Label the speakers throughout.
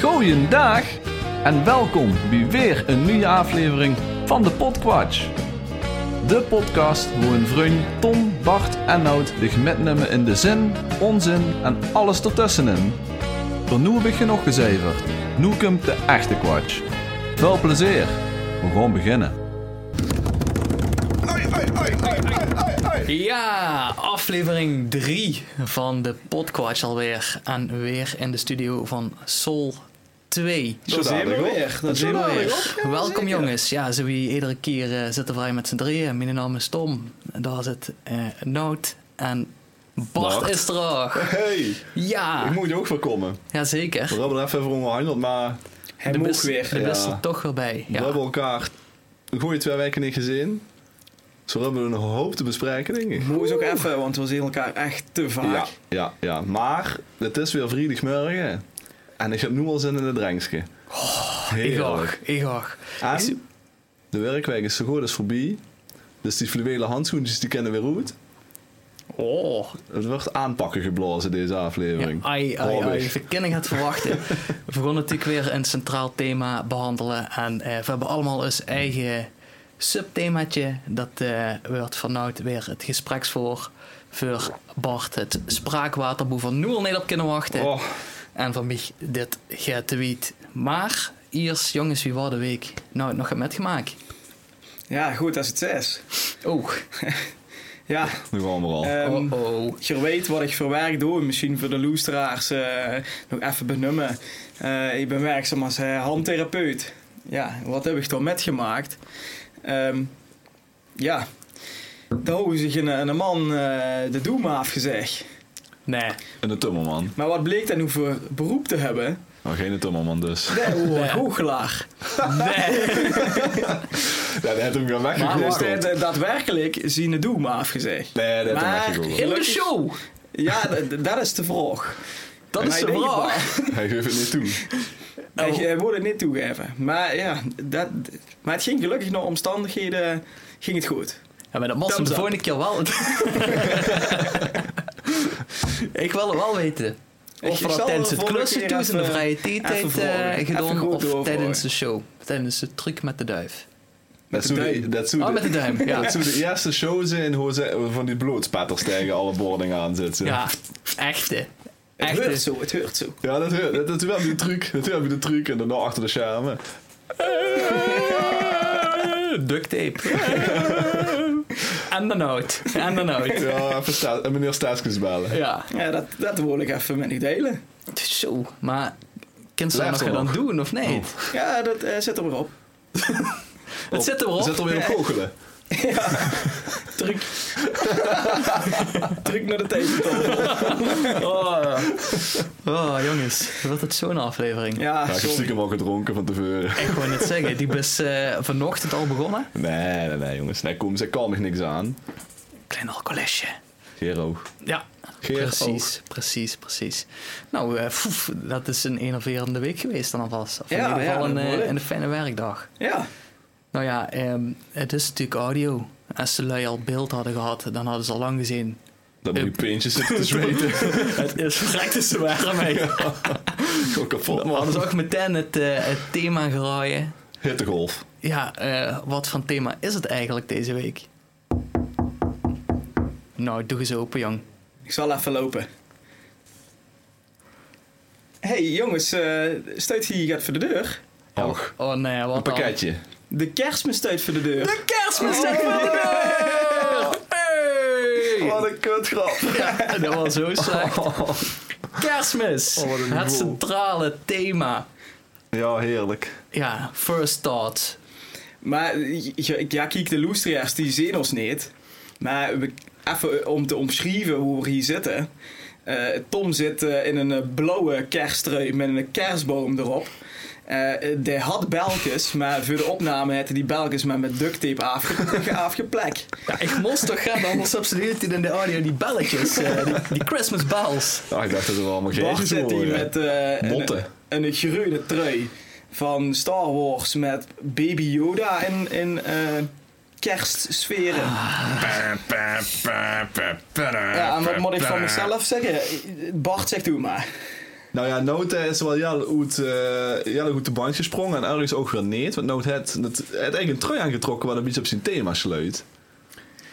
Speaker 1: Goeiedag en welkom bij weer een nieuwe aflevering van de Podquatch. De podcast waar een vriend Tom, Bart en Nout zich metnemen in de zin, onzin en alles ertussenin. Voor nu heb ik genoeg gezeverd. Nu komt de echte Quatsch. Veel plezier. We gaan beginnen.
Speaker 2: Ja, aflevering 3 van de podcast alweer. En weer in de studio van Soul 2.
Speaker 3: Dat zijn we weer. Dat zijn we weer.
Speaker 2: Welkom jongens. Ja, zo wie iedere keer eh, zitten wij met z'n drieën. Mijn naam is Tom. Daar zit eh Nout. En Bart
Speaker 3: Bart.
Speaker 2: is er ook.
Speaker 3: Hey,
Speaker 2: Ja,
Speaker 3: ik moet ook weer komen. We
Speaker 2: jazeker.
Speaker 3: hebben er even over onderhandeld, maar
Speaker 2: De
Speaker 4: moet
Speaker 2: bus,
Speaker 4: weer,
Speaker 2: de bus
Speaker 3: ja.
Speaker 2: er toch weer bij.
Speaker 3: we
Speaker 2: Ja.
Speaker 3: hebben elkaar een goede twee weken niet gezien. Zo hebben we een hoop te bespreken, denk ik.
Speaker 4: Moest ook even, want we zien elkaar echt te
Speaker 3: Ja,
Speaker 4: vaak.
Speaker 3: ja, ja. Maar het is weer vrijdagmorgen. En ik heb nu al zin in een drankje.
Speaker 2: Oh, Ik ook,
Speaker 3: Heerlijk.
Speaker 2: ik ook. Ik zie-
Speaker 3: En de werkwijk is zo goed als voorbij. Dus die fluwelen handschoentjes die kennen weer uit.
Speaker 2: Oh,
Speaker 3: Het wordt aanpakken geblazen deze
Speaker 2: Ja,
Speaker 3: aflevering.
Speaker 2: ai, ai,
Speaker 3: Hoor
Speaker 2: ai.
Speaker 3: ik.
Speaker 2: Verkenning het verwachten. we gaan natuurlijk weer een centraal thema behandelen. En eh, we hebben allemaal ons eigen subthemaatje. Dat eh wordt vanuit weer het gespreksvoor voor Bart. Het spraakwaterboe van nu al niet op kunnen wachten.
Speaker 3: Oh,
Speaker 2: En van mij dit getewiet. Maar, eerst jongens, wie was de week? Nou, het nog een metgemaakt.
Speaker 4: Ja, goed, dat is het zes.
Speaker 2: Oh,
Speaker 4: Ja,
Speaker 3: nu gaan we al.
Speaker 4: ehm,
Speaker 2: oh, oh.
Speaker 4: je weet wat ik voor werk doe. Misschien voor de loesteraars eh, nog even benoemen. Eh, ik ben werkzaam als eh, handtherapeut. Ja, wat heb ik dan metgemaakt? Ehm, ja, daar houden zich een, een man eh, de doem afgezegd.
Speaker 2: Nee.
Speaker 3: En de tummelman.
Speaker 4: Maar wat bleek dan nu voor beroep te hebben?
Speaker 3: Nou, geen tummelman dus.
Speaker 2: Oh,
Speaker 4: De hoogelaar.
Speaker 3: Ja, dat heb ik weer
Speaker 4: Maar
Speaker 3: weggegooid.
Speaker 4: dus
Speaker 2: eh,
Speaker 4: de- de- daadwerkelijk zien de doem afgezegd.
Speaker 3: Nee, dat heb ik
Speaker 4: Maar-
Speaker 3: weggegooid.
Speaker 2: In de show!
Speaker 4: Ja, d- d- dat is de vraag.
Speaker 2: Dat is
Speaker 4: Maar
Speaker 2: de
Speaker 4: ik denk het
Speaker 2: vraag.
Speaker 3: Hij geeft het niet toe.
Speaker 4: wel.
Speaker 2: Oh.
Speaker 4: Hij- Hij wordt het eh, niet toegeven. Maar ja, dat, maar het ging gelukkig naar omstandigheden ging het goed.
Speaker 2: Ja, maar dat moest hem
Speaker 4: Thumbs
Speaker 2: de
Speaker 4: up.
Speaker 2: volgende keer wel. ik wil het wel weten. Of
Speaker 4: zal
Speaker 2: dat
Speaker 4: de
Speaker 2: tijdens het
Speaker 4: volgende
Speaker 2: klussen
Speaker 4: keer
Speaker 2: toe is in de
Speaker 4: even-
Speaker 2: vrije tijd
Speaker 4: even volgen.
Speaker 2: eh,
Speaker 4: Even
Speaker 2: gedaan
Speaker 4: goed
Speaker 2: of
Speaker 4: doorvragen.
Speaker 2: tijdens de show. Tijdens de truc met de duif.
Speaker 3: Dat zou de,
Speaker 4: duim.
Speaker 3: dat zou
Speaker 2: Oh,
Speaker 3: de-
Speaker 2: met de duim, ja.
Speaker 3: dat zou de eerste show zijn hoe ze van die bloodspetters tegen alle boardingen aan zitten.
Speaker 2: Ja, echte.
Speaker 4: Het heurt
Speaker 2: Echte.
Speaker 4: zo, het heurt zo.
Speaker 3: Ja, dat, dat, dat is wel die truc. Dat is wel die truc en daarna achter de schermen.
Speaker 2: Duct tape. En dan out. En dan out.
Speaker 3: Ja, even sta- en meneer Staatskens bellen.
Speaker 2: Ja.
Speaker 4: Ja, dat, dat wil ik even met u delen.
Speaker 2: Zo. Maar kind ze dat
Speaker 3: Blijft
Speaker 2: nog
Speaker 3: er
Speaker 2: gedaan
Speaker 3: nog.
Speaker 2: doen of niet?
Speaker 4: Ja, dat eh, zit er weer op.
Speaker 2: Het zit erop.
Speaker 3: Zet er weer op
Speaker 2: Ah,
Speaker 3: kogelen.
Speaker 4: Druk. Druk naar de tekentafel.
Speaker 2: Oh. oh, jongens. Wat het zo'n aflevering.
Speaker 4: Ja,
Speaker 3: Ja, ik heb
Speaker 4: sorry.
Speaker 3: stiekem al gedronken van tevoren.
Speaker 2: Ik wou net zeggen, die is eh, vanochtend al begonnen.
Speaker 3: Nee, nee, nee jongens. Nee, kom, ze kan me niks aan.
Speaker 2: Klein alcoholesje.
Speaker 3: Gero.
Speaker 2: Ja,
Speaker 3: Geer
Speaker 2: precies, precies, precies. Nou, eh, foef, dat is een enerverende week geweest dan alvast. Of in
Speaker 4: Ja,
Speaker 2: ieder geval
Speaker 4: ja,
Speaker 2: een, eh,
Speaker 4: behoorlijk.
Speaker 2: een fijne werkdag.
Speaker 4: Ja,
Speaker 2: Nou ja, ehm, het is natuurlijk audio. Als ze lui al beeld hadden gehad, dan hadden ze al lang gezien.
Speaker 3: Dat moet je pintjes zitten te zweten.
Speaker 2: Het is verrekte zwaar mee.
Speaker 3: Gewoon kapot,
Speaker 2: We hadden
Speaker 3: man.
Speaker 2: ze ook meteen het, eh, het thema geraaien.
Speaker 3: Hittegolf.
Speaker 2: Ja, eh, wat voor thema is het eigenlijk deze week? Nou, doe eens open, jong.
Speaker 4: ik zal even lopen. hey, jongens, eh stuit hier gaat voor de deur.
Speaker 3: Och,
Speaker 2: Oh nee, wat dan?
Speaker 3: een pakketje.
Speaker 4: De kerstmis stuit voor de deur.
Speaker 2: De kerstmis zit voor de deur! Hey!
Speaker 3: een kutgrap.
Speaker 2: Ja, dat was zo slecht. Kerstmis!
Speaker 3: Oh, wat een
Speaker 2: het
Speaker 3: gevoel.
Speaker 2: centrale thema.
Speaker 3: Ja, heerlijk.
Speaker 2: Ja, first thought.
Speaker 4: Maar ja, ja, kijk, de Loestriaars die zien ons niet. Maar we- even eh, om te omschrijven hoe we hier zitten. Eh, Tom zit eh, in een eh, blauwe kersttrui met een kerstboom erop. Eh die had belkjes, maar voor de opname had hij die belkjes maar met duct tape afge afgeplakt.
Speaker 2: Ja, ik moest toch gaan, anders subsidieert hij in de audio die belletjes. eh, die, die Christmas bells.
Speaker 3: Ah, ik dacht dat we allemaal
Speaker 4: Bart
Speaker 3: geestjes
Speaker 4: zit hier
Speaker 3: horen.
Speaker 4: met eh, een,
Speaker 3: Botten.
Speaker 4: een geruide trui van Star Wars met Baby Yoda in, in eh, kerstsferen. Ja, en wat moet ik van mezelf zeggen? Bart, zegt doe maar.
Speaker 3: Nou ja, Note is wel heel goed, eh, heel goed de band gesprongen en ergens ook weer niet. Want Note had, het, had eigenlijk een trui aangetrokken waar een iets op zijn thema sleut.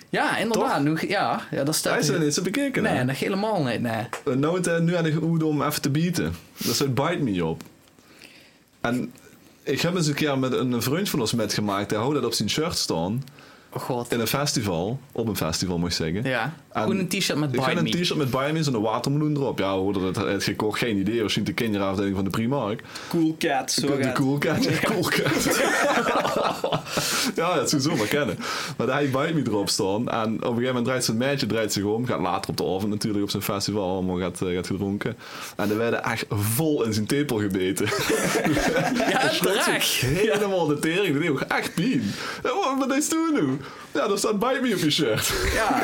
Speaker 2: Ja, inderdaad. Nu, ja, ja, dat staat
Speaker 3: Hij is
Speaker 2: er-
Speaker 3: er niet zo bekeken.
Speaker 2: Nee,
Speaker 3: hè?
Speaker 2: dat helemaal niet. Nee.
Speaker 3: Note nu aan de goed om even te bieten. Dat is het bite me op. En ik heb eens een keer met een vriend van ons metgemaakt. Hij houdt dat op zijn shirt staan.
Speaker 2: Oh god.
Speaker 3: In een festival. Op een festival moet ik zeggen.
Speaker 2: Ja.
Speaker 3: En-
Speaker 2: Gewoon een t-shirt met
Speaker 3: Ik
Speaker 2: Buy
Speaker 3: had
Speaker 2: Me.
Speaker 3: een t-shirt met Bayern en een watermeloen erop. Ja, we hadden het, het gekocht. Geen idee. Misschien de kinderafdeling van de Primark.
Speaker 4: Cool cat, zo
Speaker 3: de
Speaker 4: gaat.
Speaker 3: koelkaart. Ja, koelkaart. ja, dat zou je zomaar kennen. Maar daar had Bite Me erop staan. En op een gegeven moment draait zijn meisje draait zich om. Gaat later op de avond natuurlijk op zijn festival allemaal gaat, eh, gaat gedronken. En er werden echt vol in zijn tepel gebeten.
Speaker 2: Ja,
Speaker 3: Trots
Speaker 2: draag.
Speaker 3: helemaal de tering. Dat deed ook echt pijn. Ja, wat- Wat is toen nu? Ja, daar staat Bite Me op je shirt.
Speaker 2: Ja.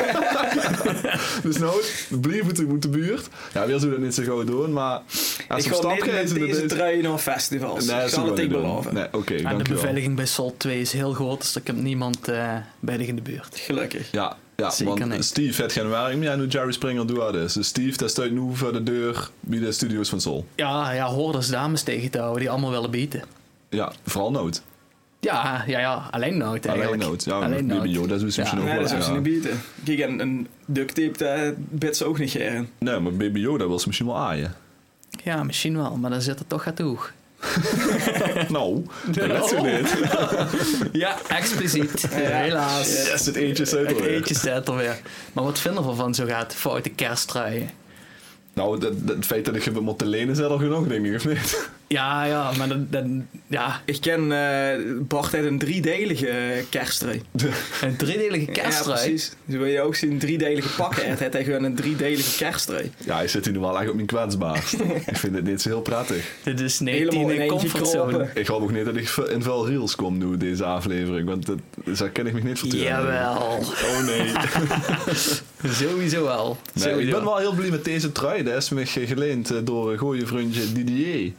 Speaker 3: Dus nou, blijf het in de buurt. Ja, wil ze dat niet zo gauw doen, maar... Als ze
Speaker 4: Ik ga
Speaker 3: verstand
Speaker 4: niet met
Speaker 3: krijgen, dan
Speaker 4: deze
Speaker 3: is-
Speaker 4: trui naar festivals.
Speaker 3: Nee,
Speaker 4: ik
Speaker 3: dat
Speaker 4: zal
Speaker 3: zou
Speaker 4: het
Speaker 3: ik
Speaker 4: niet
Speaker 3: wel niet
Speaker 4: beloven.
Speaker 3: doen. Nee, oké,
Speaker 2: En de
Speaker 3: dankjewel.
Speaker 2: beveiliging bij Sol 2 is heel groot, dus er komt niemand eh, bij de in de buurt.
Speaker 4: Gelukkig.
Speaker 3: Ja, ja
Speaker 2: Zeker
Speaker 3: want
Speaker 2: niet.
Speaker 3: Steve had geen werk meer nu Jerry Springer doet dat dus. Dus Steve, dat staat nu voor de deur bij de studio's van Sol.
Speaker 2: Ja, ja, hoorders dames tegen te houden die allemaal willen bieten.
Speaker 3: Ja, vooral nood.
Speaker 2: Ja, ja, ja, alleen nooit eigenlijk.
Speaker 3: Alleen nood. Ja,
Speaker 2: Alleen
Speaker 3: BBO,
Speaker 2: nood.
Speaker 3: dat is misschien
Speaker 2: Ja.
Speaker 3: ook
Speaker 4: Nee,
Speaker 3: wel
Speaker 4: dat zou ze
Speaker 3: ja.
Speaker 4: niet bieden. Kijk, en een duct tape, dat bed ze ook niet geren.
Speaker 3: Nee, maar BBO, dat wil ze misschien wel aaien.
Speaker 2: Ja, misschien wel, maar dan zit er toch aan toe.
Speaker 3: nou, dat is ze niet.
Speaker 2: Ja, expliciet. Helaas.
Speaker 3: Yes, het eentje is uit
Speaker 2: Het
Speaker 3: alweer.
Speaker 2: eentje staat er weer. Maar wat vinden we van zo gaat foute kersttruien?
Speaker 3: Nou, dat, dat, het feit dat ik heb moeten lenen is al genoeg, denk ik, of niet?
Speaker 2: Ja, ja, maar dan, dan ja,
Speaker 4: Ik ken eh Bart uit een driedelige eh, kersttrui.
Speaker 2: een driedelige
Speaker 4: Ja,
Speaker 2: kersttrui.
Speaker 4: precies. Dus wil je ook zien driedelige pakken. Het heeft tegen een driedelige kersttrui.
Speaker 3: Ja, hij zit hier nu wel echt op mijn kwetsbaarst. ik vind het niet zo heel prettig.
Speaker 2: Dit is
Speaker 4: Helemaal
Speaker 2: 19
Speaker 4: in
Speaker 2: in
Speaker 4: eentje kropen.
Speaker 2: comfortzone.
Speaker 3: Ik hoop ook niet dat ik in veel reels kom nu, deze aflevering. Want dat, dus daar ken ik me niet voor terug.
Speaker 2: Jawel,
Speaker 3: Oh nee.
Speaker 2: sowieso wel.
Speaker 3: Nee, ik
Speaker 2: Sowieso.
Speaker 3: ben wel heel blij met deze trui. Dat is me geleend eh, door een goede vriendje Didier.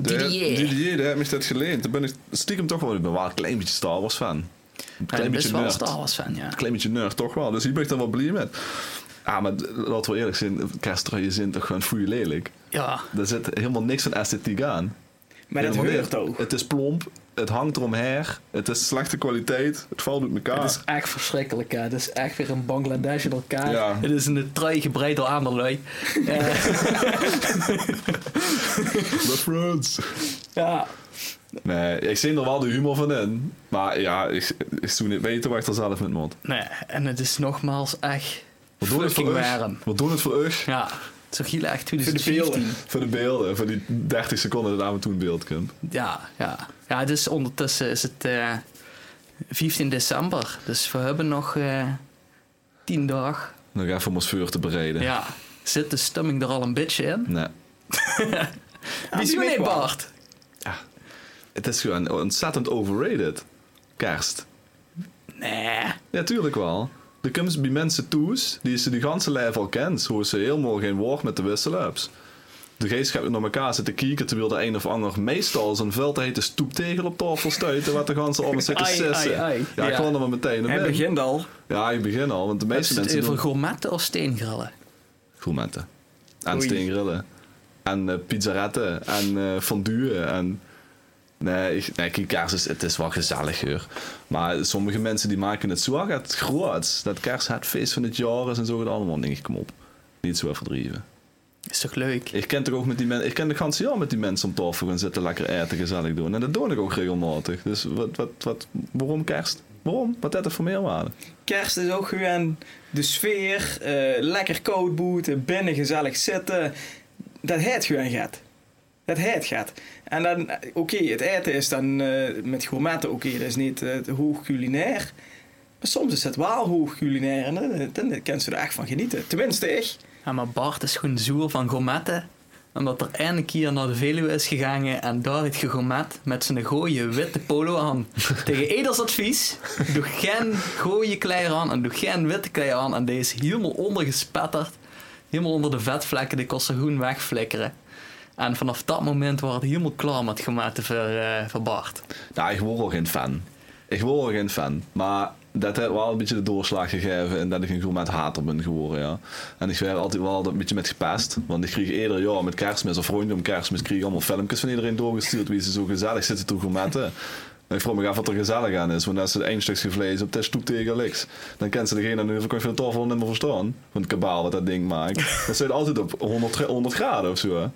Speaker 2: Didier.
Speaker 3: Didier, daar heb ik dat geleend. Daar ben ik stiekem toch wel, ik ben wel een klein beetje Star Wars fan. Een
Speaker 2: Ja,
Speaker 3: klein
Speaker 2: best
Speaker 3: beetje
Speaker 2: wel een
Speaker 3: nerd.
Speaker 2: Star Wars fan, ja.
Speaker 3: Een klein beetje nerd, toch wel. Dus hier ben ik dan wel blij met. Ah, maar d- laten we eerlijk zijn. Kersttruien zijn toch gewoon foei lelijk.
Speaker 2: Ja,
Speaker 3: Daar zit helemaal niks van esthetiek aan.
Speaker 4: Maar dat
Speaker 3: Helemaal
Speaker 4: heurt
Speaker 3: niet.
Speaker 4: ook.
Speaker 3: Het is plomp, het hangt eromheen, het is slechte kwaliteit, het valt uit elkaar.
Speaker 2: het is echt verschrikkelijk. Hè. Het is echt weer een Bangladesh in elkaar.
Speaker 3: Ja.
Speaker 2: Het is een trui gebreid door aan de lui. Eh,
Speaker 3: The Friends.
Speaker 2: ja.
Speaker 3: Nee, ik zie er wel de humor van in. Maar ja, ik, ik doe niet weten waar ik er zelf met moet.
Speaker 2: Nee, en het is nogmaals echt
Speaker 3: We doen het voor
Speaker 2: fucking
Speaker 3: u.
Speaker 2: warm.
Speaker 3: We doen het voor u.
Speaker 2: Ja, zo giel echt
Speaker 4: Voor de
Speaker 2: 2015.
Speaker 4: beelden.
Speaker 3: Voor de beelden, voor die 30 seconden dat we toen in beeld komt.
Speaker 2: Ja, ja. Ja, het is ondertussen is het eh 15 december. Dus we hebben nog eh 10 dagen.
Speaker 3: Nog even om ons vuur te
Speaker 2: Ja.
Speaker 3: bereiden.
Speaker 2: Zit de stemming er al een beetje in?
Speaker 3: Nee.
Speaker 2: Wie is
Speaker 4: die
Speaker 2: meneer
Speaker 4: weet wel.
Speaker 2: Bart?
Speaker 3: Het is gewoon ontzettend overrated. Kerst.
Speaker 2: Nee.
Speaker 3: Ja, tuurlijk wel. Er komt bij mensen toes die ze de ganse lijf al kent. Hoe ze helemaal geen woord met de wissel-ups. De geest gaat naar elkaar zitten kijken terwijl de een of ander meestal zijn vel te hete stoeptegel op tafel stuit. En wat de ganse allemaal zitten
Speaker 2: Ai,
Speaker 3: sissen.
Speaker 2: ai, ai.
Speaker 3: Ja, ik
Speaker 2: Ja.
Speaker 3: kwam er maar meteen
Speaker 4: Hij
Speaker 3: op in.
Speaker 4: begint al.
Speaker 3: Ja, ik begin al, want de
Speaker 2: Is
Speaker 3: meeste
Speaker 2: het
Speaker 3: mensen
Speaker 2: over
Speaker 3: doen
Speaker 2: gourmetten of steengrillen?
Speaker 3: gourmetten. En
Speaker 4: Oei.
Speaker 3: steengrillen. En eh pizzaretten. En eh fondue. En... Nee, ik, nee kijk, kaars is, het is wel gezellig hoor. Maar sommige mensen die maken het zo het groot. Dat kaars het feest van het jaar is en zo gaat allemaal. denk ik, kom op. Niet zo verdrieven.
Speaker 2: Is toch leuk?
Speaker 3: Ik ken toch ook met die mensen... Ik ken de ganse jaar met die mensen om tafel gaan zitten lekker eten gezellig doen. En dat doe ik ook regelmatig. Dus wat, wat, wat, waarom kerst? Waarom? Wat heeft dat voor meerwaarde?
Speaker 4: Kerst is ook gewoon de sfeer. eh, lekker koud boeten, binnen gezellig zitten. Dat het gewoon gaat. Dat het gaat. En dan, eh, oké, het eten is dan eh, met gourmetten, oké, dat is niet eh, hoog culinair. Maar soms is het wel hoog culinair en dan, eh, dan kan ze er echt van genieten. Tenminste, ik.
Speaker 2: Ja, maar Bart is gewoon zoer van gourmetten. Omdat er eindelijk hier naar de Veluwe is gegaan en daar heeft gegourmet met zijn gooie witte polo aan. Tegen Eders advies, doe geen gooie klei aan en doe geen witte klei aan. En deze is helemaal ondergespetterd, helemaal onder de vetvlekken, die kost ze groen wegflikkeren. En vanaf dat moment was het helemaal klaar met gourmetten voor, eh, voor Bart.
Speaker 3: Nou, ik word al geen fan. Ik word al geen fan. Maar dat heeft wel een beetje de doorslag gegeven en dat ik een gourmet hater ben geworden, ja. En ik werd altijd wel een beetje met gepest, want ik kreeg eerder, ja, met kerstmis of rondom kerstmis kreeg ik allemaal filmpjes van iedereen doorgestuurd wie ze zo gezellig zitten te gourmetten. En ik vroeg me af wat er gezellig aan is, want als ze één stukje vlees op de stoep tegen links, dan kent ze degene aan de overkant van de tafel niet meer verstaan, van het kabaal wat dat ding maakt. Dat zit altijd op 100, gra- 100 graden of zo, hè.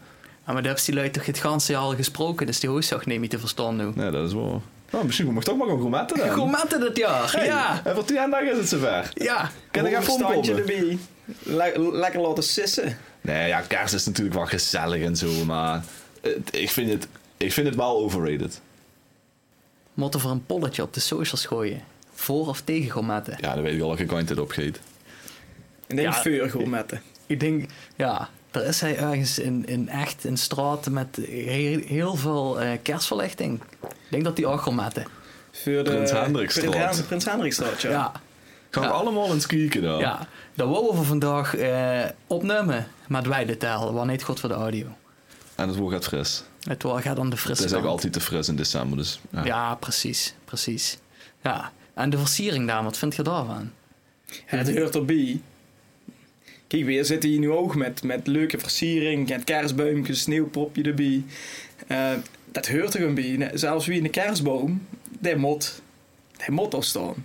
Speaker 2: Ah, maar daar heb je die lui toch het ganse jaar al gesproken, dus die hoofdzak neem je te verstaan nu.
Speaker 3: Nee, dat is wel... Nou, misschien mag ik toch maar gaan gourmetten dan.
Speaker 2: Goed matten dit jaar,
Speaker 3: Hey,
Speaker 2: ja!
Speaker 3: En voor 10 dagen is het zover.
Speaker 2: Ja!
Speaker 3: Kan ik even
Speaker 4: standje
Speaker 3: omkomen?
Speaker 4: erbij. Le- lekker laten sissen.
Speaker 3: Nee, ja, kerst is natuurlijk wel gezellig en zo, maar het- ik, vind het, ik vind het wel overrated.
Speaker 2: Motten voor een polletje op de socials gooien. Voor of tegen gourmetten.
Speaker 3: Ja, dan weet ik al dat ik kant dit opgeet.
Speaker 4: Ik denk
Speaker 2: Ja.
Speaker 4: vuur gewoon met de.
Speaker 2: Ik denk, ja, er is hij ergens in, in echt een straat met heel, heel veel eh, kerstverlichting. Ik denk dat die ook gourmetten.
Speaker 4: Vuur de
Speaker 3: Prins Hendrikstraat.
Speaker 4: Prins Hen- Prins Hendrikstraat, ja.
Speaker 2: Ja.
Speaker 3: Gaan
Speaker 2: Ja.
Speaker 3: we allemaal eens kijken dan?
Speaker 2: Ja, dat wouden we voor vandaag eh, opnemen. Maar wij de taal, want niet goed voor de audio.
Speaker 3: En het woord gaat fris.
Speaker 2: Het wel gaat aan de
Speaker 3: Het
Speaker 2: frisse
Speaker 3: is ook
Speaker 2: kant.
Speaker 3: altijd te fris in december, dus... Ja.
Speaker 2: Ja, precies, precies. Ja, en de versiering daar, wat vind je daarvan?
Speaker 4: Het hoort erbij. Kijk, weer zitten hier nu ook met, met leuke versiering, met kerstboomjes, sneeuwpopje erbij. Eh, dat hoort er een bij. Ne- Zelfs wie in de kerstboom, die moet, die moet al staan.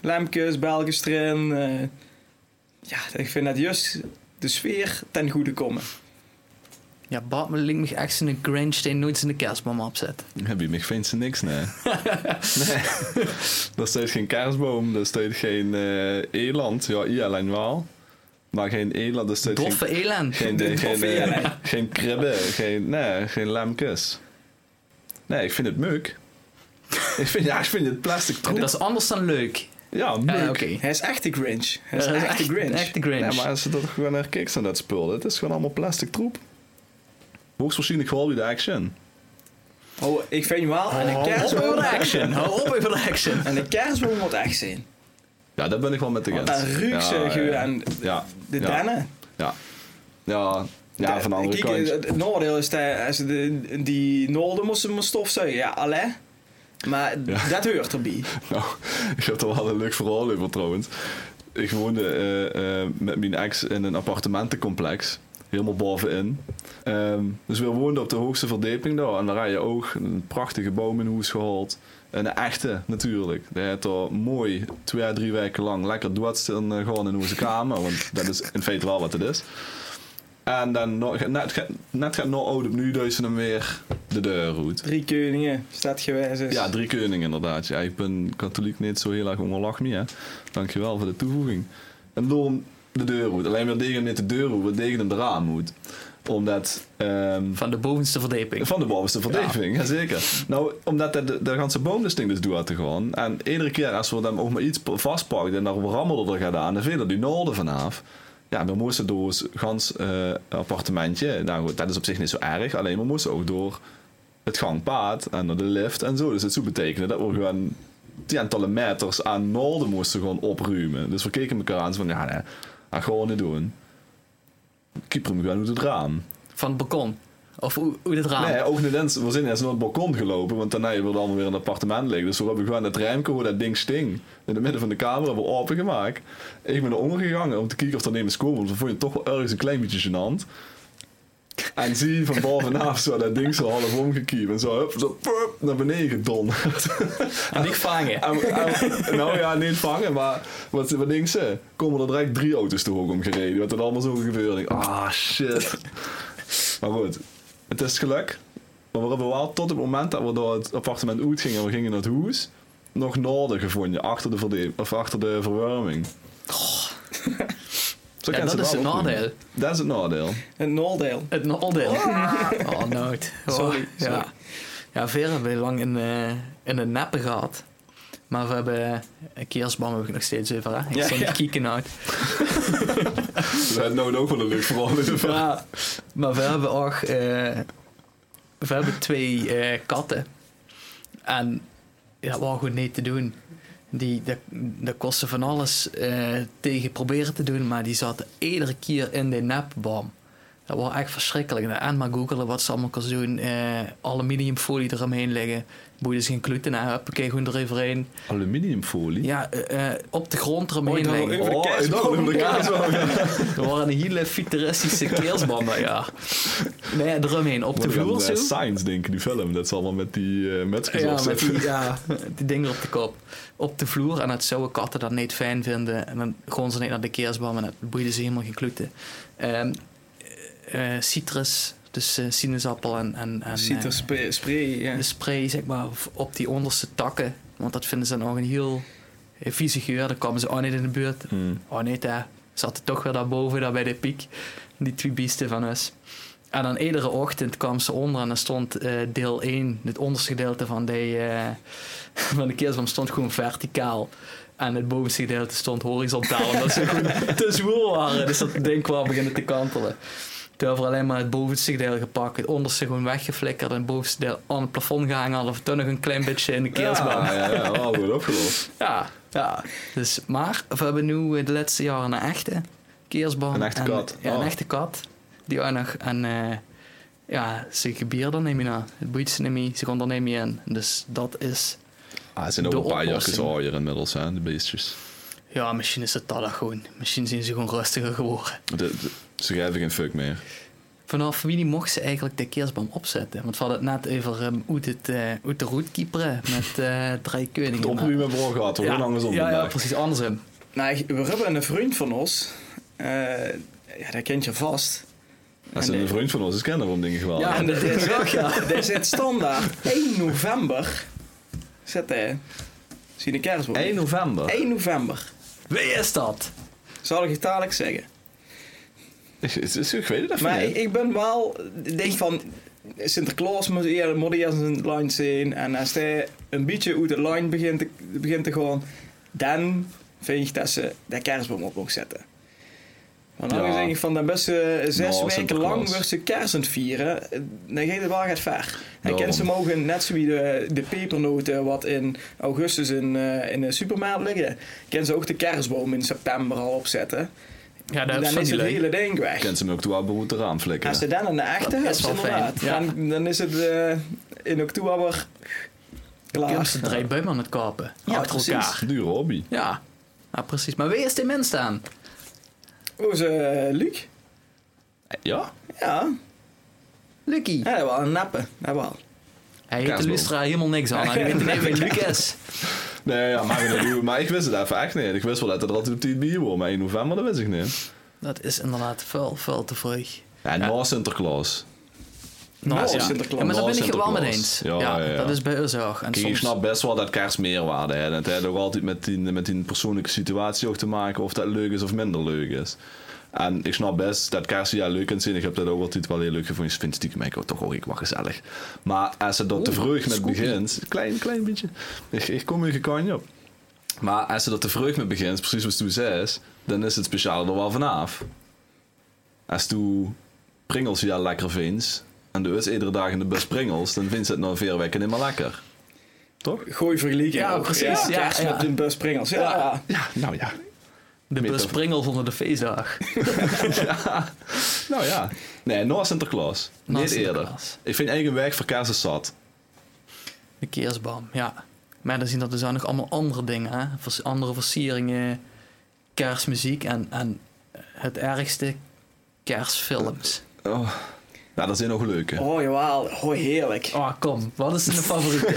Speaker 4: Lampjes, belletjes erin. eh, ja, ik vind dat juist de sfeer ten goede komen.
Speaker 2: Ja, Bart me linkt me echt in een Grinch die nooit in de kerstboom opzet.
Speaker 3: Heb je mij vindt ze niks, nee. nee. Er staat geen kerstboom, er staat geen eh eland. Ja, Ierland wel. Maar geen eland, er staat geen...
Speaker 2: Doffe eland.
Speaker 3: Geen, geen, geen,
Speaker 4: Doffe
Speaker 3: eh,
Speaker 4: eland.
Speaker 3: geen kribben, geen, nee, geen lamkes. Nee, ik vind het meuk. ik, vind, ja, ik vind het plastic troep.
Speaker 2: Dat is anders dan leuk.
Speaker 4: Ah,
Speaker 3: Ja, meuk.
Speaker 2: Ja, oké.
Speaker 4: Hij is echt de Grinch. Hij is
Speaker 2: Ja, dat
Speaker 4: echt de Grinch.
Speaker 2: Echt de Grinch.
Speaker 3: Nee, maar als je dat gewoon naar kijkt, dan dat spul. Het is gewoon allemaal plastic troep. Hoogstwaarschijnlijk gewoon weer de action.
Speaker 4: Oh, ik vind wel, en een
Speaker 2: Hou op
Speaker 4: kerstboom,
Speaker 2: over de action. Hou op over de action.
Speaker 4: en een kerstboom moet echt zijn.
Speaker 3: Ja, daar ben ik wel met de
Speaker 4: Want
Speaker 3: grens.
Speaker 4: dat ruikt ze
Speaker 3: ja,
Speaker 4: gewoon
Speaker 3: ja.
Speaker 4: aan
Speaker 3: Ja,
Speaker 4: de
Speaker 3: ja,
Speaker 4: dennen.
Speaker 3: Ja. Ja, ja, van de andere
Speaker 4: Kijk,
Speaker 3: kant.
Speaker 4: Het het nadeel is dat eh, als ze de, die nolden moesten maar stofzuigen. Ja, alle. Maar
Speaker 3: Ja.
Speaker 4: dat hoort erbij.
Speaker 3: Nou, ik heb er wel een leuk verhaal over trouwens. Ik woonde eh, eh, met mijn ex in een appartementencomplex. Helemaal bovenin. Ehm, dus we woonden op de hoogste verdieping daar. En daar had je ook een prachtige boom in huis gehaald. En een echte natuurlijk. Die heeft er mooi twee, drie weken lang lekker doodstil eh, gewoon in onze kamer. Want dat is in feite wel wat het is. En dan nog- net, gaat- net gaat nog oud opnieuw dus hem weer de deur uit.
Speaker 4: Drie koningen, staat gewijs is.
Speaker 3: Ja, drie koningen inderdaad. Ja, ik ben katholiek niet zo heel erg onderlag mee, hè. Dankjewel voor de toevoeging. En daarom de deur moet. Alleen maar tegen niet de deur moet, maar tegen de raam moet. Omdat... ehm,
Speaker 2: Van de bovenste verdieping.
Speaker 3: van de bovenste verdediging, ja. zeker. Nou, omdat de, de, de ganse boom dus ding dus doet te gaan. En iedere keer als we dan ook maar iets vastpakken en daar rammelen er gaat aan, dan viel er die noorden vanaf. Ja, we moesten door ons gans eh, appartementje. Nou goed, dat is op zich niet zo erg. Alleen we moesten ook door het gangpaad en door de lift en zo. Dus dat zou betekenen dat we gewoon tientallen meters aan noorden moesten gewoon opruimen. Dus we keken elkaar aan zo van, ja nee, dat gaan we niet doen. Kieper hem gewoon uit het raam.
Speaker 2: Van het balkon. Of hoe, hoe dit raam.
Speaker 3: Nee, ook niet eens. We zijn eens naar het balkon gelopen, want daarna wilde allemaal weer in het appartement liggen. Dus we hebben gewoon dat ruimte hoe dat ding sting. In het midden van de kamer hebben we opengemaakt. Ik ben er omgegangen om te kijken of er neem is komen, want we vonden het toch wel ergens een klein beetje gênant. En zie je van bovenaf zo dat ding zo half omgekiept en zo, hup, zo pup, naar beneden gedonderd.
Speaker 2: En niet vangen.
Speaker 3: En- en- nou ja, niet vangen, maar wat, wat denk ze? Komen er direct drie auto's te hoog omgereden? Wat er allemaal zo gebeurde. Ik, Ah, shit. Maar goed, het is geluk. Maar we hebben wel tot het moment dat we door het appartement uit gingen en we gingen naar het hoes, nog noorden gevonden, achter de, verde- of achter de verwarming. Zo
Speaker 2: Ja,
Speaker 3: kan ze
Speaker 2: dat is
Speaker 3: wel
Speaker 2: het
Speaker 3: opdoen.
Speaker 2: nadeel.
Speaker 3: Dat is het nadeel.
Speaker 4: Een noldeel.
Speaker 2: Het nadeel. Oh, nooit. Oh,
Speaker 4: Sorry, sorry.
Speaker 2: Ja. ja, Vera hebben we lang in, eh in de neppen gehad. Maar we hebben... eh, Een keersbam heb ik nog steeds over, hè? Ik
Speaker 4: Ja,
Speaker 2: sta niet
Speaker 4: ja.
Speaker 2: kieken uit.
Speaker 3: Dus het nou ook wel een leuk verhaal. in ieder geval.
Speaker 2: Ja, maar we hebben ook... eh, we hebben twee eh, katten. En ja, dat was goed niet te doen. Die, dat, dat kostte van alles eh, tegen proberen te doen, maar die zaten iedere keer in de nepbom. Dat was echt verschrikkelijk. En maar googelen wat ze allemaal kon doen. eh aluminiumfolie eromheen leggen. Boeit dus geen gluten aan. Huppakee, gewoon er even heen.
Speaker 3: Aluminiumfolie.
Speaker 2: Ja, eh, eh, op de grond eromheen
Speaker 4: dan
Speaker 2: leggen.
Speaker 4: over de
Speaker 3: Oh,
Speaker 4: kerst.
Speaker 3: en dan over de kerst.
Speaker 2: Er waren hele futuristische keelsbanden, ja. Nee, ja, eromheen. Op de
Speaker 3: Moet ik aan
Speaker 2: vloer
Speaker 4: eh,
Speaker 3: de
Speaker 2: zo.
Speaker 3: Science denken, die film. Dat is allemaal met die eh metskens
Speaker 2: Ja, met
Speaker 3: opzetten.
Speaker 2: die, ja, die dingen op de kop. Op de vloer. En dat zouden katten dat niet fijn vinden. En dan gewoon ze niet naar de keersbam. En dat boeide ze helemaal geen kluten. Ehm, eh, eh, citrus, dus eh, sinaasappel en... en, en eh,
Speaker 4: Citrus spray, ja.
Speaker 2: de spray, zeg maar, v- op die onderste takken. Want dat vinden ze dan nog een heel eh, vieze geur. Dan komen ze ook niet in de buurt.
Speaker 3: Hmm.
Speaker 2: Oh nee, daar zaten toch weer daarboven, daar bij de piek. Die twee biesten van ons. En dan iedere ochtend kwam ze onder en dan stond eh, deel 1, het onderste gedeelte van, die, eh, van de keersboom, stond gewoon verticaal. En het bovenste gedeelte stond horizontaal, omdat ze gewoon te zwoel waren. Dus dat ding kwam beginnen te kantelen. Toen hebben we alleen maar het bovenste gedeelte gepakt, het onderste gewoon weggeflikkerd en het bovenste deel aan het plafond gehangen. Hadden we toen nog een klein beetje in de keersboom.
Speaker 3: Ja, ja, ja, wel goed opgelost.
Speaker 2: Ja, ja. Dus, maar we hebben nu eh, de laatste jaren een echte keersboom.
Speaker 3: Een echte
Speaker 2: En-
Speaker 3: kat.
Speaker 2: Ja,
Speaker 3: Oh.
Speaker 2: een echte kat. Die ook nog een... eh, ja, ze gebier dan neem je na. Het boeit ze niet meer, ze kon er niet meer in. Dus dat is...
Speaker 3: Ah, er zijn ook
Speaker 2: De
Speaker 3: een paar jakjes
Speaker 2: oplossing.
Speaker 3: ooier inmiddels, hè, de beestjes.
Speaker 2: Ja, misschien is het dat gewoon. Misschien zijn ze gewoon rustiger geworden.
Speaker 3: De, de- ze geven geen fuck meer.
Speaker 2: Vanaf wie mocht ze eigenlijk de keersboom opzetten? Want we hadden het net over ehm, hoe het, eh, hoe de route kieperen met eh drie koningen.
Speaker 3: Het opruimen hebben we al gehad, we gaan andersom
Speaker 2: ja, ja,
Speaker 3: vandaag.
Speaker 2: precies, andersom.
Speaker 4: Nou, we hebben een vriend van ons. eh, ja, dat kent je vast.
Speaker 3: Dat is
Speaker 4: En
Speaker 3: een
Speaker 4: de-
Speaker 3: vriend van ons, is kennen van dingen gewoon.
Speaker 2: eh, Ja,
Speaker 4: en
Speaker 2: dat is ook, ja.
Speaker 4: Daar zit standaard 1 november. Zet hij. Zie je de kerstboom?
Speaker 3: 1 november.
Speaker 4: 1 november.
Speaker 2: Wie is dat?
Speaker 4: Zal ik het dadelijk zeggen.
Speaker 3: Ik, ik- ik- ik weet het even
Speaker 4: Maar ik,
Speaker 3: niet.
Speaker 4: ik ben wel, ik denk van, Sinterklaas moet eerder, moet eerst een line zien. En als hij een beetje uit de line begint te, begint te gaan, dan vind ik dat ze de kerstboom op moet zetten. Want dan
Speaker 3: Ja.
Speaker 4: denk ik van, dan best ze zes
Speaker 3: Nou,
Speaker 4: weken
Speaker 3: Sinterklaas.
Speaker 4: lang wordt ze kerst aan het vieren. eh, Dan gaat het wel gaat ver. En
Speaker 3: Daarom.
Speaker 4: kent ze mogen net zo wie de, de pepernoten wat in augustus in, eh, in de supermarkt liggen. Kent ze ook de kerstboom in september al opzetten.
Speaker 2: Ja, dat
Speaker 4: dan
Speaker 2: is
Speaker 4: is
Speaker 2: niet
Speaker 4: het
Speaker 2: leuk.
Speaker 4: hele ding weg.
Speaker 3: Kent ze hem ook toe aan behoed eraan
Speaker 4: Als
Speaker 3: flikkeren.
Speaker 4: ze dan een echte
Speaker 2: Dat
Speaker 4: hebt,
Speaker 2: is wel
Speaker 4: inderdaad,
Speaker 2: fijn, ja.
Speaker 4: dan, dan is het eh, in oktober
Speaker 2: Kunnen
Speaker 4: klaar.
Speaker 2: ze drie buimen aan het kopen.
Speaker 4: Oh, Ja,
Speaker 2: achter
Speaker 4: precies.
Speaker 2: elkaar.
Speaker 3: Dure hobby.
Speaker 2: Ja. ja, precies. Maar wie is die mens dan?
Speaker 4: Hoe is eh, Luc?
Speaker 3: Ja?
Speaker 4: Ja,
Speaker 2: Lucky.
Speaker 4: ja dat wel een nappe. Dat wel.
Speaker 2: Hij heet de
Speaker 3: Kaasboom.
Speaker 2: Lustra helemaal niks aan. Hij weet niet eens wie Luc is.
Speaker 3: Nee, ja, maar, ik bedoel, maar ik wist het even echt niet. Ik wist wel dat er altijd op 10 bier was, maar 1 november, dat wist ik niet.
Speaker 2: Dat is inderdaad veel, veel te vroeg.
Speaker 3: En na Sinterklaas.
Speaker 2: Nou,
Speaker 4: Nou,
Speaker 2: ja.
Speaker 4: Sinterklaas.
Speaker 2: Ja, maar daar
Speaker 3: Nou,
Speaker 2: ben ik het wel mee
Speaker 3: Sinterklaas.
Speaker 2: eens. Ja,
Speaker 3: Ja, ja, ja.
Speaker 2: dat is bij ons ook. En
Speaker 3: Kijk, ik
Speaker 2: soms...
Speaker 3: snap best wel dat kerst meerwaarde heeft. En Het heeft ook altijd met die, met die persoonlijke situatie ook te maken of dat leuk is of minder leuk is. En ik snap best dat kerst ja leuk kan zijn. Ik heb dat ook altijd wel heel leuk gevonden. Ik vind stiekem eigenlijk ook toch ook ik wel gezellig. Maar als het er te vroeg met begint, klein, klein beetje. Ik, ik kom er geen kantje op. Maar als ze er te vroeg mee begint, precies zoals toen zei, is, dan is het speciaal er wel vanaf. Als toen pringels ja lekker vindt, en dus iedere dag in de bus pringels, dan vindt ze het nou na vier weken niet meer lekker. Toch?
Speaker 4: Gooi vergelijking.
Speaker 2: Ja,
Speaker 4: ook.
Speaker 2: precies, ja,
Speaker 4: kerst
Speaker 2: ja.
Speaker 4: met een bus pringels. Ja, ja.
Speaker 3: Ja, nou ja.
Speaker 2: De
Speaker 3: Met-
Speaker 2: bus pringelt onder de feestdag.
Speaker 3: Nou ja. Nee, na Sinterklaas.
Speaker 2: Na
Speaker 3: Niet eerder.
Speaker 2: Sinterklaas.
Speaker 3: Ik vind eigen werk voor kerst is zat.
Speaker 2: De keersbam, ja. Maar dan zien dat er zijn nog allemaal andere dingen. Hè? Vers- Andere versieringen, kerstmuziek en, en het ergste, kerstfilms.
Speaker 3: Oh. Nou, dat zijn nog leuke.
Speaker 4: Oh, jawel. Oh, heerlijk.
Speaker 2: Oh, kom. Wat is de favoriete?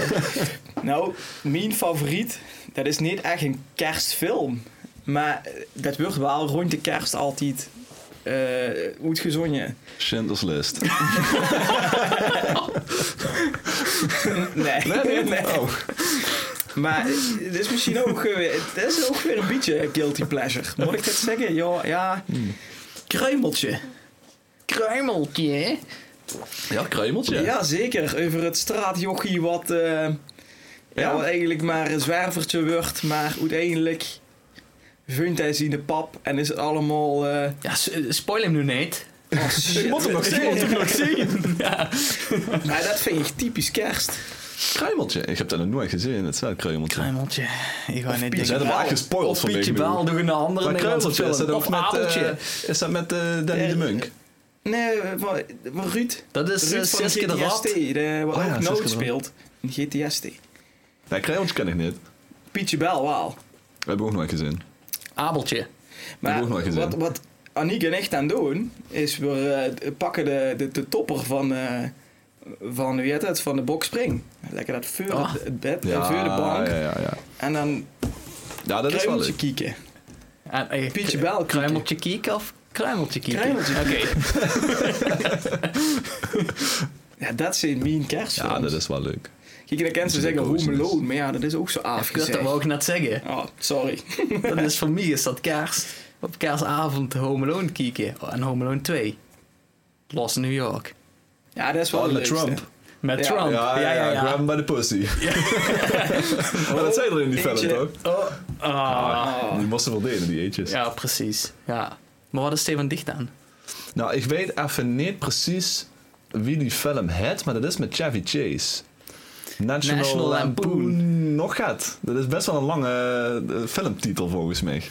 Speaker 4: Nou, mijn favoriet, dat is niet echt een kerstfilm. Maar eh, dat wordt wel rond de kerst altijd eh uitgezonden.
Speaker 3: Schindler's List.
Speaker 4: Nee. nee.
Speaker 3: Oh.
Speaker 4: Maar het is misschien ook, eh, weer- het is ook weer een beetje een guilty pleasure. Moet ik dat zeggen? Ja, ja. Kruimeltje.
Speaker 2: Kruimeltje.
Speaker 3: Ja, kruimeltje.
Speaker 4: Ja. zeker. Over het straatjochie wat, eh, ja. wat eigenlijk maar een zwervertje wordt. Maar uiteindelijk vindt hij ze in de pap en is het allemaal... eh,
Speaker 2: Ja, s- eh, spoil hem nu niet.
Speaker 4: oh shit.
Speaker 3: moet hem nog zien.
Speaker 4: Ik moet hem nog zien.
Speaker 2: Ja.
Speaker 4: Maar dat vind ik typisch kerst.
Speaker 3: Kruimeltje. Ik heb dat nog nooit gezien. Het staat kruimeltje.
Speaker 2: Kruimeltje. Ik ga niet
Speaker 4: Pietje
Speaker 3: Ze
Speaker 2: denken.
Speaker 3: hebben
Speaker 4: Bel.
Speaker 3: wel echt gespoild
Speaker 2: Of
Speaker 3: van
Speaker 2: Pietje
Speaker 3: week nu.
Speaker 2: Baal, doe een andere
Speaker 3: Maar
Speaker 2: Nederlandse
Speaker 3: kruimeltje, is dat
Speaker 2: film.
Speaker 3: ook
Speaker 2: Of
Speaker 3: met... eh,
Speaker 2: Abeltje.
Speaker 3: is dat met eh, Danny de Munk?
Speaker 4: Nee, wat, wat Ruud.
Speaker 2: Dat is eh,
Speaker 4: Ruud van
Speaker 2: Siske de
Speaker 4: GTS-T,
Speaker 2: Rat.
Speaker 4: de, wat
Speaker 3: Oh ja,
Speaker 4: ook
Speaker 3: Siske de
Speaker 4: Nood
Speaker 3: Rat.
Speaker 4: speelt. In GTS-T.
Speaker 3: Nee, Crayons ken ik niet.
Speaker 4: Pietje Bel wel.
Speaker 3: We hebben ook nooit gezien.
Speaker 2: Abeltje.
Speaker 3: heb
Speaker 4: Maar
Speaker 3: ik ook nog gezien.
Speaker 4: wat, wat Aniek en ik aan doen, is we eh, pakken de, de, de topper van, eh van, wie heet het, van de bokspring. Lekker dat voor
Speaker 2: Ah.
Speaker 4: het- het bed, en voor de bank.
Speaker 3: Ja, ja, ja.
Speaker 4: En dan
Speaker 3: ja dat is wel
Speaker 4: kruimeltje
Speaker 3: leuk.
Speaker 4: kieken.
Speaker 2: En, eh,
Speaker 4: Pietje Bel kieken.
Speaker 2: Kruimeltje kiek of kruimeltje kiek?
Speaker 4: Kruimeltje
Speaker 2: Oké.
Speaker 4: Ja, dat zijn mean kerstfilms.
Speaker 3: Ja, dat is wel leuk.
Speaker 4: Kijk, dan kennen ze zeggen
Speaker 3: Dat is
Speaker 4: Home
Speaker 3: ook
Speaker 4: Alone, maar ja, dat is ook zo
Speaker 2: Ik wilde
Speaker 4: afgezegd.
Speaker 2: dat ook net zeggen.
Speaker 4: Oh, sorry.
Speaker 2: Dat is voor mij is dat kerst. Op kerstavond Home Alone kieken. Oh, En Home Alone 2. Los New York.
Speaker 4: Ja, dat is wel
Speaker 3: Oh,
Speaker 4: de
Speaker 3: met
Speaker 4: leukste.
Speaker 3: Trump.
Speaker 2: Met
Speaker 4: Ja.
Speaker 2: Trump.
Speaker 3: Ja, ja, ja. Grab him by the pussy. maar dat zei er in die film
Speaker 4: Eentje.
Speaker 3: toch?
Speaker 2: Oh. Ah.
Speaker 4: Oh.
Speaker 3: Die moesten wel delen, die eetjes.
Speaker 2: Ja, precies. Ja. Maar wat is Steven Dicht aan?
Speaker 3: Nou, ik weet even niet precies wie die film het, maar dat is met Chevy Chase. National,
Speaker 2: National Lampoon.
Speaker 3: Nog gaat. Dat is best wel een lange eh, filmtitel volgens mij.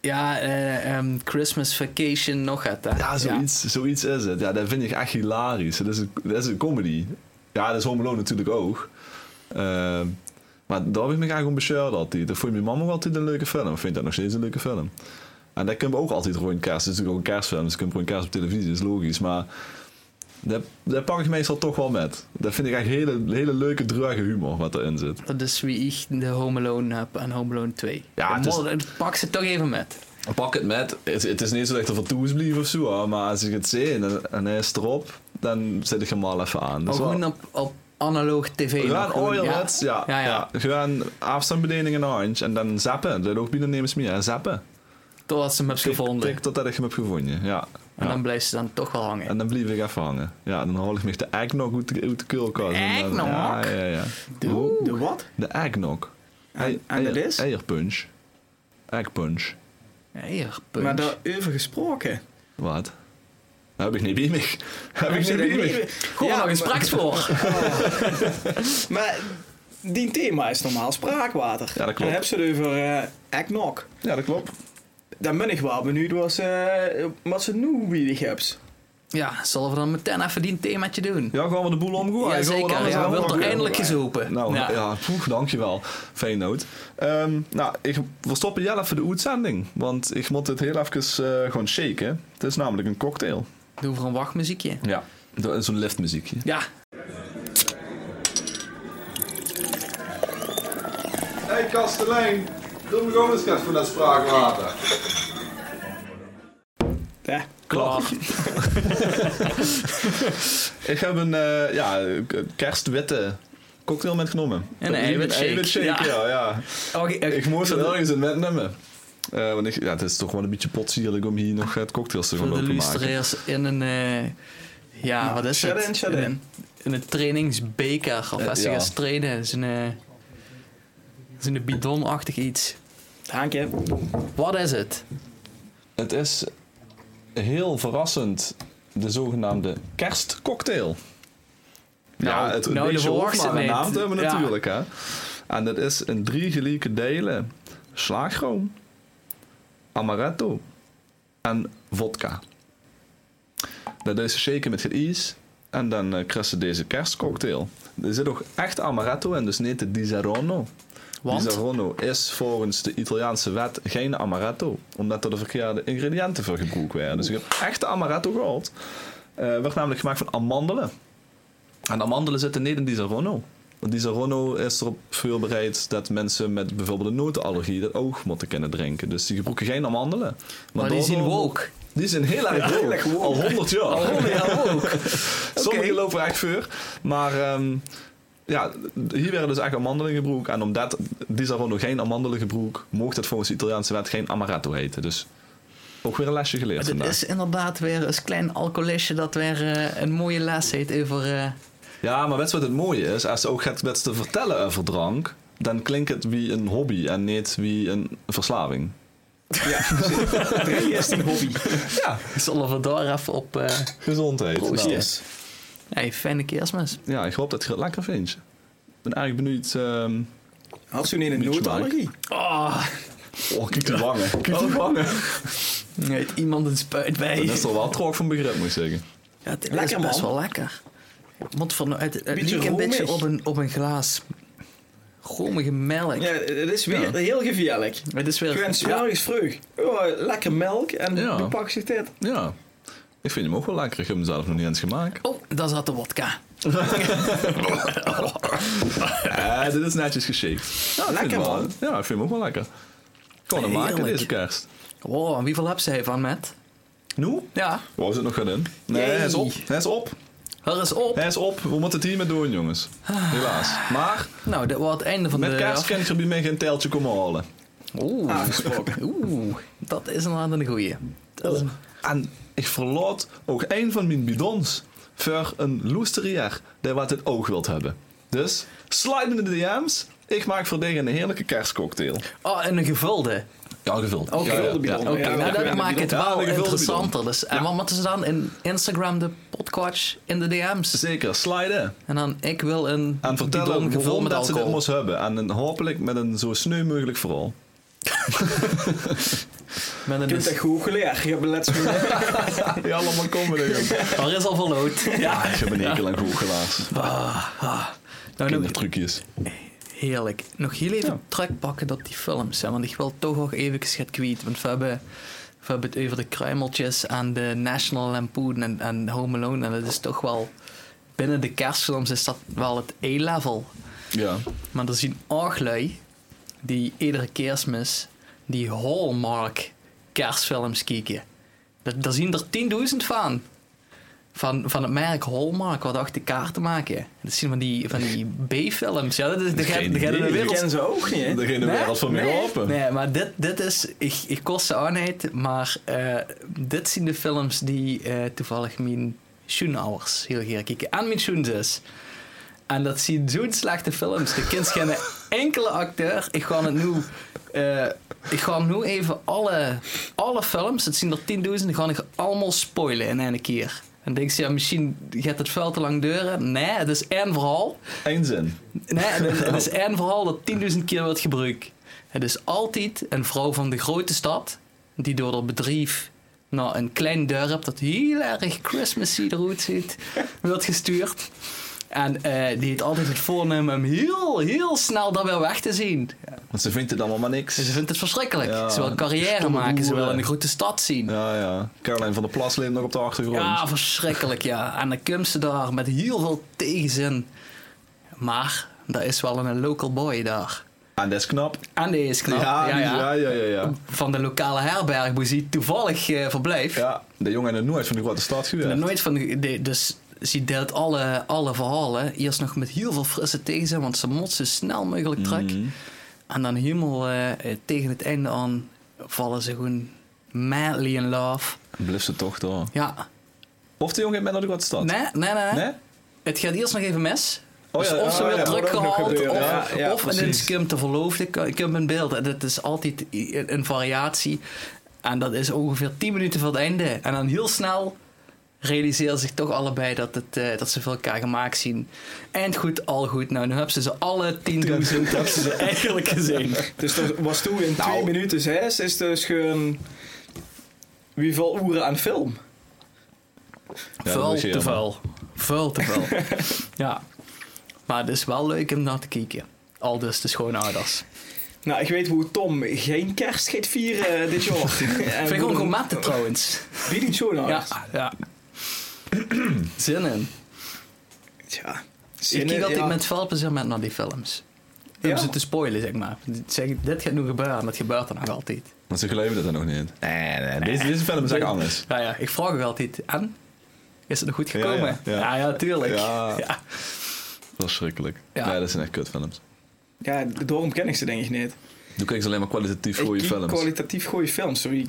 Speaker 2: Ja, eh, ehm, Christmas Vacation nog het. hè?
Speaker 3: Ja, zoiets, zoiets is het. Ja, dat vind ik echt hilarisch. Dat is een, dat is een comedy. Ja, dat is Home Alone natuurlijk ook. Eh, maar daar heb ik me graag om bescheurd altijd. Dat vond mijn mama ook altijd een leuke film. Ik vind dat nog steeds een leuke film. En dat kunnen we ook altijd rond kerst. Het is natuurlijk ook een kerstfilm, dus ik kan gewoon kerst op televisie, is logisch. Maar dat, dat pak ik meestal toch wel met. Dat vind ik echt hele, hele leuke, druige humor wat erin zit.
Speaker 2: Dat is wie ik de Home Alone heb en Home Alone 2.
Speaker 3: Ja,
Speaker 2: Ja,
Speaker 3: het is-
Speaker 2: Pak ze toch even met.
Speaker 3: Pak het met. Het, het is niet zo dat ik er van toe is blijven of zo, hoor. maar als ik het zie en, en hij is erop, dan zet ik hem al even aan. Dat
Speaker 2: Maar
Speaker 3: is wel-
Speaker 2: gewoon op, op analoog tv. nog
Speaker 3: Gewoon
Speaker 2: gewoon,
Speaker 3: oilheads, ja. Ja.
Speaker 2: Ja, ja.
Speaker 3: Gewoon afstandsbediening en orange en dan zappen. Dat ook binnen nemen ze mee, hè. zappen.
Speaker 2: Totdat ze hem hebt gevonden.
Speaker 3: Tik totdat ik hem heb gevonden, ja.
Speaker 2: En
Speaker 3: Ja.
Speaker 2: dan blijft ze dan toch wel hangen.
Speaker 3: En dan blijf ik even hangen. Ja, dan haal ik me de eggnog uit de, uit de koelkast.
Speaker 2: De
Speaker 3: En dan-
Speaker 2: eggnog?
Speaker 3: Ja, ja, ja.
Speaker 4: De, de wat?
Speaker 3: De eggnog. Ei-
Speaker 4: en dat
Speaker 3: eier-
Speaker 4: is?
Speaker 3: Eierpunch. Eggpunch.
Speaker 2: Ja, hier, punch.
Speaker 4: Maar daarover gesproken.
Speaker 3: Wat? Heb ik niet bij me. Heb ik niet
Speaker 4: Heb
Speaker 3: bij
Speaker 4: je dat
Speaker 3: me.
Speaker 4: niet-
Speaker 2: Gewoon
Speaker 4: Ja,
Speaker 2: nog eens
Speaker 4: maar-
Speaker 2: spraks voor.
Speaker 4: Maar die thema is normaal spraakwater.
Speaker 3: Ja, dat klopt.
Speaker 4: En dan heb ze het over eh eggnog.
Speaker 3: Ja, dat klopt.
Speaker 4: Dan ben ik wel benieuwd wat ze, wat ze nu bieden hebt.
Speaker 2: Ja, zullen we dan meteen even die themaatje doen?
Speaker 3: Ja, gaan we de boel omgooien.
Speaker 2: Ja, zeker. Ja, we willen toch eindelijk eens open.
Speaker 3: Nou, ja,
Speaker 2: ja.
Speaker 3: poeh, dankjewel. Feyenoord. Ehm nou, ik we stoppen jij even de uitzending. Want ik moet het heel even eh, gewoon shaken. Het is namelijk een cocktail.
Speaker 2: Doe voor een wachtmuziekje.
Speaker 3: Ja. Zo'n liftmuziekje.
Speaker 2: Ja,
Speaker 5: Hé hey, Kastelein, doe me gewoon eens gast van dat spraakwater.
Speaker 4: Ja.
Speaker 2: klaar.
Speaker 3: Ik heb een eh, ja, kerstwitte cocktail metgenomen.
Speaker 2: En een eiwitshake.
Speaker 3: ja. ja,
Speaker 2: Oké, oké.
Speaker 3: Ik moest er ergens een metnemen. Eh want ik, ja, het is toch wel een beetje potsierlijk om hier nog het cocktails te gaan
Speaker 2: Voor de
Speaker 3: lopen maken.
Speaker 2: luisteraars in een... eh, ja, wat is
Speaker 4: Shut
Speaker 2: het?
Speaker 4: in, shut
Speaker 2: een,
Speaker 4: in.
Speaker 2: in een trainingsbeker. Of
Speaker 3: Eh,
Speaker 2: als ze
Speaker 3: ja.
Speaker 2: gaan trainen. Het is een, eh, het is een bidonachtig iets.
Speaker 4: Haantje.
Speaker 2: Wat is het?
Speaker 3: Het is heel verrassend de zogenaamde kerstcocktail.
Speaker 2: Nou,
Speaker 3: ja, het
Speaker 2: nou,
Speaker 3: een beetje
Speaker 2: de
Speaker 3: hoort
Speaker 2: verwachtste
Speaker 3: maar een naam te
Speaker 2: niet.
Speaker 3: hebben
Speaker 2: Ja.
Speaker 3: natuurlijk. Hè? En dat is in drie gelijke delen slagroom, amaretto en vodka. Dat is shaken met het ijs en dan eh krijg je deze kerstcocktail. Er zit ook echt amaretto in, dus niet de Di Zarono.
Speaker 2: Want?
Speaker 3: Disaronno is volgens de Italiaanse wet geen amaretto, omdat er de verkeerde ingrediënten voor gebruikt werden. Dus ik heb echte amaretto gehaald. Eh werd namelijk gemaakt van amandelen. En amandelen zitten niet in Disaronno. Want Disaronno is erop veel bereid dat mensen met bijvoorbeeld een notenallergie dat ook moeten kunnen drinken. Dus die gebruiken geen amandelen.
Speaker 2: Maar die zien
Speaker 3: daardoor-
Speaker 2: woke.
Speaker 3: Die zijn heel erg woke. Al 100 jaar.
Speaker 2: Oh ja, woke.
Speaker 3: Sommigen lopen echt vuur. Maar ehm, ja, hier werden dus echt amandelen gebroek. En omdat Disaronno geen amandelen gebroek, mocht het volgens de Italiaanse wet geen amaretto heten. Dus ook weer een lesje geleerd
Speaker 2: Het
Speaker 3: vandaag.
Speaker 2: is inderdaad weer een klein alcoholistje dat weer eh, een mooie les heeft over... eh,
Speaker 3: Ja, maar weet je wat het mooie is? Als ze ook gaat met te vertellen over drank, dan klinkt het wie een hobby en niet wie een verslaving.
Speaker 4: Drie is die hobby.
Speaker 3: Ja,
Speaker 2: zullen we daar even op... eh
Speaker 3: gezondheid.
Speaker 2: Proost,
Speaker 3: Nou,
Speaker 2: yes. hey, fijne kerstmis.
Speaker 3: ja, ik hoop dat je het lekker vindt. Ik ben eigenlijk benieuwd. ehm,
Speaker 4: Had ze nu een
Speaker 3: Mitch
Speaker 4: noodallergie?
Speaker 2: Oh,
Speaker 3: Oh, kijk die wangen. Kijk die wangen.
Speaker 2: Nee, iemand een spuit bij.
Speaker 3: Dan is er wel trok van begrip, moet ik zeggen.
Speaker 2: Ja, het
Speaker 4: Lekker,
Speaker 2: is best
Speaker 4: man.
Speaker 2: wel lekker. Want van, het, het
Speaker 4: Beetje
Speaker 2: leek een beetje
Speaker 4: romig.
Speaker 2: op een, op een glaas romige melk.
Speaker 4: Ja, het is weer
Speaker 3: Ja.
Speaker 4: heel gevaarlijk.
Speaker 2: Het is weer...
Speaker 4: Gwen
Speaker 2: ja,
Speaker 4: Swergis vroeg. Oh, lekker melk en
Speaker 3: Ja.
Speaker 4: de pak zich dit.
Speaker 3: Ja. Ik vind hem ook wel lekker. Ik heb hem zelf nog niet eens gemaakt.
Speaker 2: oh, daar zat de wodka.
Speaker 3: Eh, dit is netjes geshaked. Ja, ik vind
Speaker 4: Lekker,
Speaker 3: hem wel-
Speaker 4: man.
Speaker 3: Ja, ik vind hem ook wel lekker. Kan hem maken
Speaker 2: Heerlijk.
Speaker 3: deze kerst.
Speaker 2: Wow, en wieveel heb zij van, met?
Speaker 3: Nu?
Speaker 2: Ja,
Speaker 3: Waar zit nog gaan in? Nee,
Speaker 4: Jee.
Speaker 3: hij is op. Hij is op.
Speaker 2: er is op.
Speaker 3: Hij is op. We moeten het hiermee doen, jongens. Helaas. Maar
Speaker 2: Nou, dat was het einde van
Speaker 3: met
Speaker 2: de...
Speaker 3: kerst kan ik er bij mij geen teltje komen halen.
Speaker 2: Oeh,
Speaker 4: Aangesproken.
Speaker 2: oeh, dat is inderdaad een goeie. Dat is een-
Speaker 3: En ik verlaat ook een van mijn bidons voor een loesterier die wat het oog wilt hebben. Dus slide me in de DM's. Ik maak voor tegen een heerlijke kerstcocktail. Oh,
Speaker 2: Oh, en een gevulde.
Speaker 3: Ja, gevuld.
Speaker 2: Oké,
Speaker 3: Ja, ja,
Speaker 4: gevulde bidon.
Speaker 3: ja.
Speaker 2: Oké,
Speaker 4: Ja,
Speaker 2: nou,
Speaker 4: ja,
Speaker 2: dat
Speaker 4: ja,
Speaker 2: maakt het
Speaker 3: ja,
Speaker 2: wel
Speaker 3: een gevulde
Speaker 2: interessanter. Dus, En wat moeten ze dan in Instagram de podcast in de DM's?
Speaker 3: Zeker, sliden.
Speaker 2: En dan, ik wil een
Speaker 3: En vertellen
Speaker 2: bidon gevuld
Speaker 3: waarom
Speaker 2: met
Speaker 3: dat ze dit
Speaker 2: alcohol.
Speaker 3: moest hebben. En een, hopelijk met een zo sneu mogelijk verhaal.
Speaker 2: Met een
Speaker 4: Je hebt echt goed geleerd. Je hebt de laatste minuut.
Speaker 3: Ja, laat maar komen. jongen.
Speaker 2: Waar is al verloot?
Speaker 3: Ja, ik heb een hekel aan goochelaars.
Speaker 2: Nou, nog-
Speaker 3: Kindertrucjes.
Speaker 2: heerlijk. Nog heel even terugpakken dat die films. Hè, want ik wil toch nog even het kwijt. Want we hebben, we hebben het over de kruimeltjes aan de National Lampoon en, en Home Alone. En dat is toch wel... Binnen de kerstfilms is dat wel het E-level.
Speaker 3: Ja.
Speaker 2: Maar er zien ook lui die iedere kerstmis die Hallmark kerstfilms kijken. Dat- Daar zien er 10.000 van. Van, van het merk Hallmark, wat achter elkaar te maken. Dat zien van die, van die B-films. Ja, dat is de,
Speaker 3: Geen
Speaker 2: de, de,
Speaker 3: idee.
Speaker 4: Ik
Speaker 2: wereld.
Speaker 4: ken ze ook niet. hè?
Speaker 3: Dan ging de
Speaker 2: Nee,
Speaker 3: wereld voor mij
Speaker 2: nee,
Speaker 3: open.
Speaker 2: Nee, maar dit, dit is... Ik, ik kost ze aanheid, maar eh, dit zijn de films die eh, toevallig mijn schoenouders heel graag kijken. En mijn schoenzus. En dat zien zo'n slechte films. De kind geen enkele acteur. Ik ga het nu... eh, ik ga nu even alle, alle films, het zien er 10.000, die ga ik allemaal spoilen in één keer. En denk je, ja, misschien gaat het veel te lang duren. Nee, het is één verhaal.
Speaker 3: Eén zin.
Speaker 2: Nee, het, het is één verhaal dat 10.000 keer wordt gebruikt. Het is altijd een vrouw van de grote stad die door haar bedrijf naar een klein dorp dat heel erg Christmassy eruit ziet, wordt gestuurd. En eh, die heeft altijd het voornemen om heel, heel snel daar weer weg te zien.
Speaker 3: Want ze vindt het allemaal maar niks.
Speaker 2: Dus ze vindt het verschrikkelijk.
Speaker 3: Ja,
Speaker 2: ze wil carrière
Speaker 3: stomme
Speaker 2: maken, ze wil
Speaker 3: boeren.
Speaker 2: in de grote stad zien.
Speaker 3: Ja, ja. Caroline van der Plas leeft nog op de achtergrond.
Speaker 2: Ja, verschrikkelijk, ja. En dan komt ze daar met heel veel tegenzin. Maar er is wel een local boy daar.
Speaker 3: En dat is knap.
Speaker 2: En die is knap.
Speaker 3: Ja, die- ja, ja, ja, ja.
Speaker 2: Van de lokale herberg waar ze toevallig eh, verblijft.
Speaker 3: Ja, de jongen en de nooit van de grote stad
Speaker 2: Ik ben er
Speaker 3: geweest.
Speaker 2: nooit van, ge- de- dus ze deelt alle, alle verhalen. Eerst nog met heel veel frisse tegenzin, want ze mot zo snel mogelijk terug.
Speaker 3: Mhm.
Speaker 2: En dan helemaal eh, eh, tegen het einde aan vallen ze gewoon madly in love.
Speaker 3: Blijft ze toch daar.
Speaker 2: Ja.
Speaker 3: Of de jongen met naar de grote stad.
Speaker 2: Nee, nee, nee.
Speaker 3: Nee?
Speaker 2: Het gaat eerst nog even mis.
Speaker 3: Oh
Speaker 2: dus
Speaker 3: ja,
Speaker 2: of ze
Speaker 3: oh
Speaker 2: wordt
Speaker 3: ja,
Speaker 2: druk
Speaker 4: dat moet ook
Speaker 2: gehaald, of,
Speaker 4: gebeuren. Ja, ja,
Speaker 2: of en
Speaker 4: precies.
Speaker 2: het komt te verloofde, komt in beeld. Dat is altijd i- een variatie. En dat is ongeveer 10 minuten van het einde. En dan heel snel realiseren zich toch allebei dat, het, eh, dat ze veel elkaar gemaakt zien. Eind goed, al goed. Nou, nu hebben ze ze alle 10.000 hebben ze ze eigenlijk gezien.
Speaker 4: Dus dat was toen in 2 minuten 6 is dus gewoon... Wie valt oeren aan film?
Speaker 3: dat
Speaker 2: vuil
Speaker 3: is
Speaker 2: te
Speaker 3: jammer.
Speaker 2: vuil. Vuil te vuil. ja. Maar het is wel leuk om naar te kijken. Al dus de schoonouders.
Speaker 4: Nou, ik weet hoe Tom geen kerst gaat vieren eh, dit jaar. Vind
Speaker 2: Vind ik ook romantisch trouwens.
Speaker 4: Wie doet zo nou?
Speaker 2: Ja, ja. Zin in.
Speaker 4: Tja.
Speaker 2: ik kijk
Speaker 4: dat
Speaker 2: altijd met veel plezier met naar die films. Om
Speaker 4: Ja.
Speaker 2: ze te spoilen, zeg maar. Zeg, dit gaat nu gebeuren en dat gebeurt dan nog altijd.
Speaker 3: Want ze geloven dat dan nog niet. Nee, nee. Deze, deze film is echt anders.
Speaker 2: Ja, ja, ik vraag ook altijd, en? Is het nog goed
Speaker 3: Ja,
Speaker 2: gekomen? Ja,
Speaker 3: ja,
Speaker 2: ja,
Speaker 3: ja.
Speaker 2: tuurlijk.
Speaker 3: Ja.
Speaker 2: Ja.
Speaker 3: Verschrikkelijk.
Speaker 2: Ja.
Speaker 3: Ja. dat zijn echt kutfilms.
Speaker 4: Ja, daarom ken ik ze denk ik niet.
Speaker 3: Doe kijk ze alleen maar kwalitatief goede
Speaker 4: ik kijk
Speaker 3: films.
Speaker 4: kwalitatief goede films. Sorry,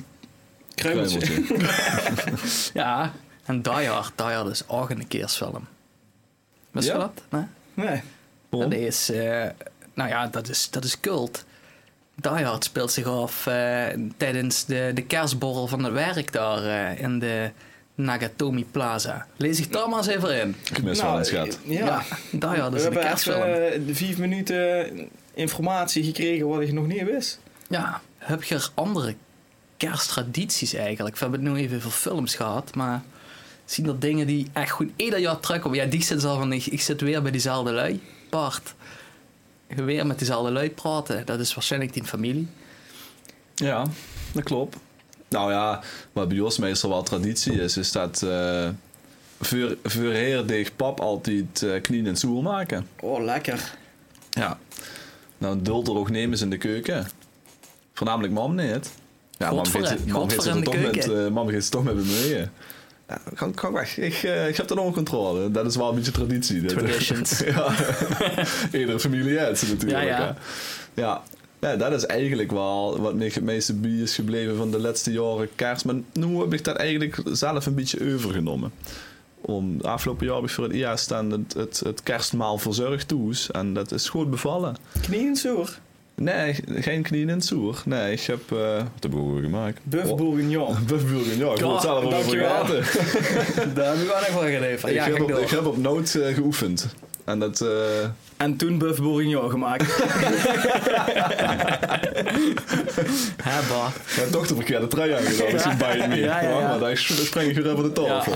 Speaker 4: kruimeltje.
Speaker 3: Kruimeltje.
Speaker 2: Ja, en Die Hard, Die Hard is ook een kerstfilm. Wist je
Speaker 3: Ja?
Speaker 2: dat? Nee?
Speaker 4: Nee.
Speaker 3: Waarom?
Speaker 2: Dat is, eh, nou ja, dat is, dat is cult. Die Hard speelt zich af eh, tijdens de, de kerstborrel van het werk daar eh, in de Nagatomi Plaza. Lees ik daar maar eens even in.
Speaker 3: Ik mis wel
Speaker 4: Nou,
Speaker 3: eens gehad.
Speaker 4: Ja.
Speaker 2: Die Hard
Speaker 4: We
Speaker 2: is een
Speaker 4: hebben
Speaker 2: kerstfilm.
Speaker 4: even eh, de vijf minuten informatie gekregen wat ik nog niet wist.
Speaker 2: Ja, heb je er andere kersttradities eigenlijk. We hebben nu even veel films gehad, maar zien er dingen die echt goed ieder jaar terugkomen. Ja, die zit al van, ik, ik zit weer bij diezelfde lui. Bart, weer met diezelfde lui praten. Dat is waarschijnlijk die familie.
Speaker 3: Ja, dat klopt. Nou ja, wat bij ons meestal wel traditie is, is dat eh voor, voor heerdeeg pap altijd eh, knieën en soer maken.
Speaker 4: Oh, lekker.
Speaker 3: Ja. Nou, duld er ook nemen ze in de keuken. Voornamelijk mam niet. Ja, mam
Speaker 2: Godver-
Speaker 3: gaat ze- mam gaat
Speaker 2: Godver
Speaker 3: ze
Speaker 2: in
Speaker 3: er
Speaker 2: de
Speaker 3: toch met,
Speaker 2: keuken.
Speaker 3: eh, mam gaat ze toch met bemoeien. Ja, ga, ga weg. Ik, eh, ik heb dat onder controle. Dat is wel een beetje traditie. Dat-
Speaker 2: Traditions.
Speaker 3: ja. Iedere familie heeft ze natuurlijk.
Speaker 2: Ja,
Speaker 3: Ja,
Speaker 2: ja.
Speaker 3: ja. dat is eigenlijk wel wat mij het meeste bij is gebleven van de laatste jaren kerst. Maar nu heb ik dat eigenlijk zelf een beetje overgenomen. Om, afgelopen jaar heb ik voor het eerst aan het, het, het kerstmaal verzorgd toes. En dat is goed bevallen.
Speaker 4: Knieën zoer.
Speaker 3: Nee, geen knieën en soer. Nee, ik heb... eh wat heb ik ook gemaakt?
Speaker 4: Buff
Speaker 3: Oh,
Speaker 4: bourguignon.
Speaker 3: Buff Bourguignon. Ja, ik wil het zelf over
Speaker 4: dankjewel.
Speaker 3: vergeten.
Speaker 2: Daar heb ik wel echt van geleverd.
Speaker 3: ik,
Speaker 2: Ja,
Speaker 3: heb
Speaker 2: ga
Speaker 3: op, ik
Speaker 2: door.
Speaker 3: heb op nood eh, geoefend. En dat... eh,
Speaker 4: En toen buff bourguignon gemaakt.
Speaker 2: Hè, Bart?
Speaker 3: Mijn dochter verkeerde trui aangedaan, dus die bijt niet.
Speaker 2: Ja, ja, ja.
Speaker 3: Maar daar spring ik weer over de tafel.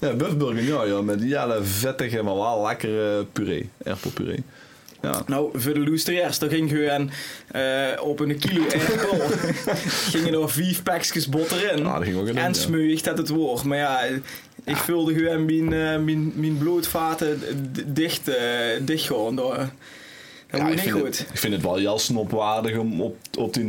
Speaker 3: Ja, buff bourguignon, joh, met die hele vettige, maar wel lekkere puree. Erpelpuree. Ja.
Speaker 4: nou, voor de loesterjers, daar ging je aan, eh, op een kilo erpel. gingen er vier pakjes botter in.
Speaker 3: Nou, dat ging ook in, ja.
Speaker 4: en smeuig dat het woord. Maar ja, ik vulde gewoon mijn, eh, mijn, mijn bloedvaten d- dicht, eh dicht gewoon. Dat, dat moet
Speaker 3: ik,
Speaker 4: niet
Speaker 3: vind
Speaker 4: goed.
Speaker 3: Het, ik vind het wel heel snopwaardig om op, op 10.30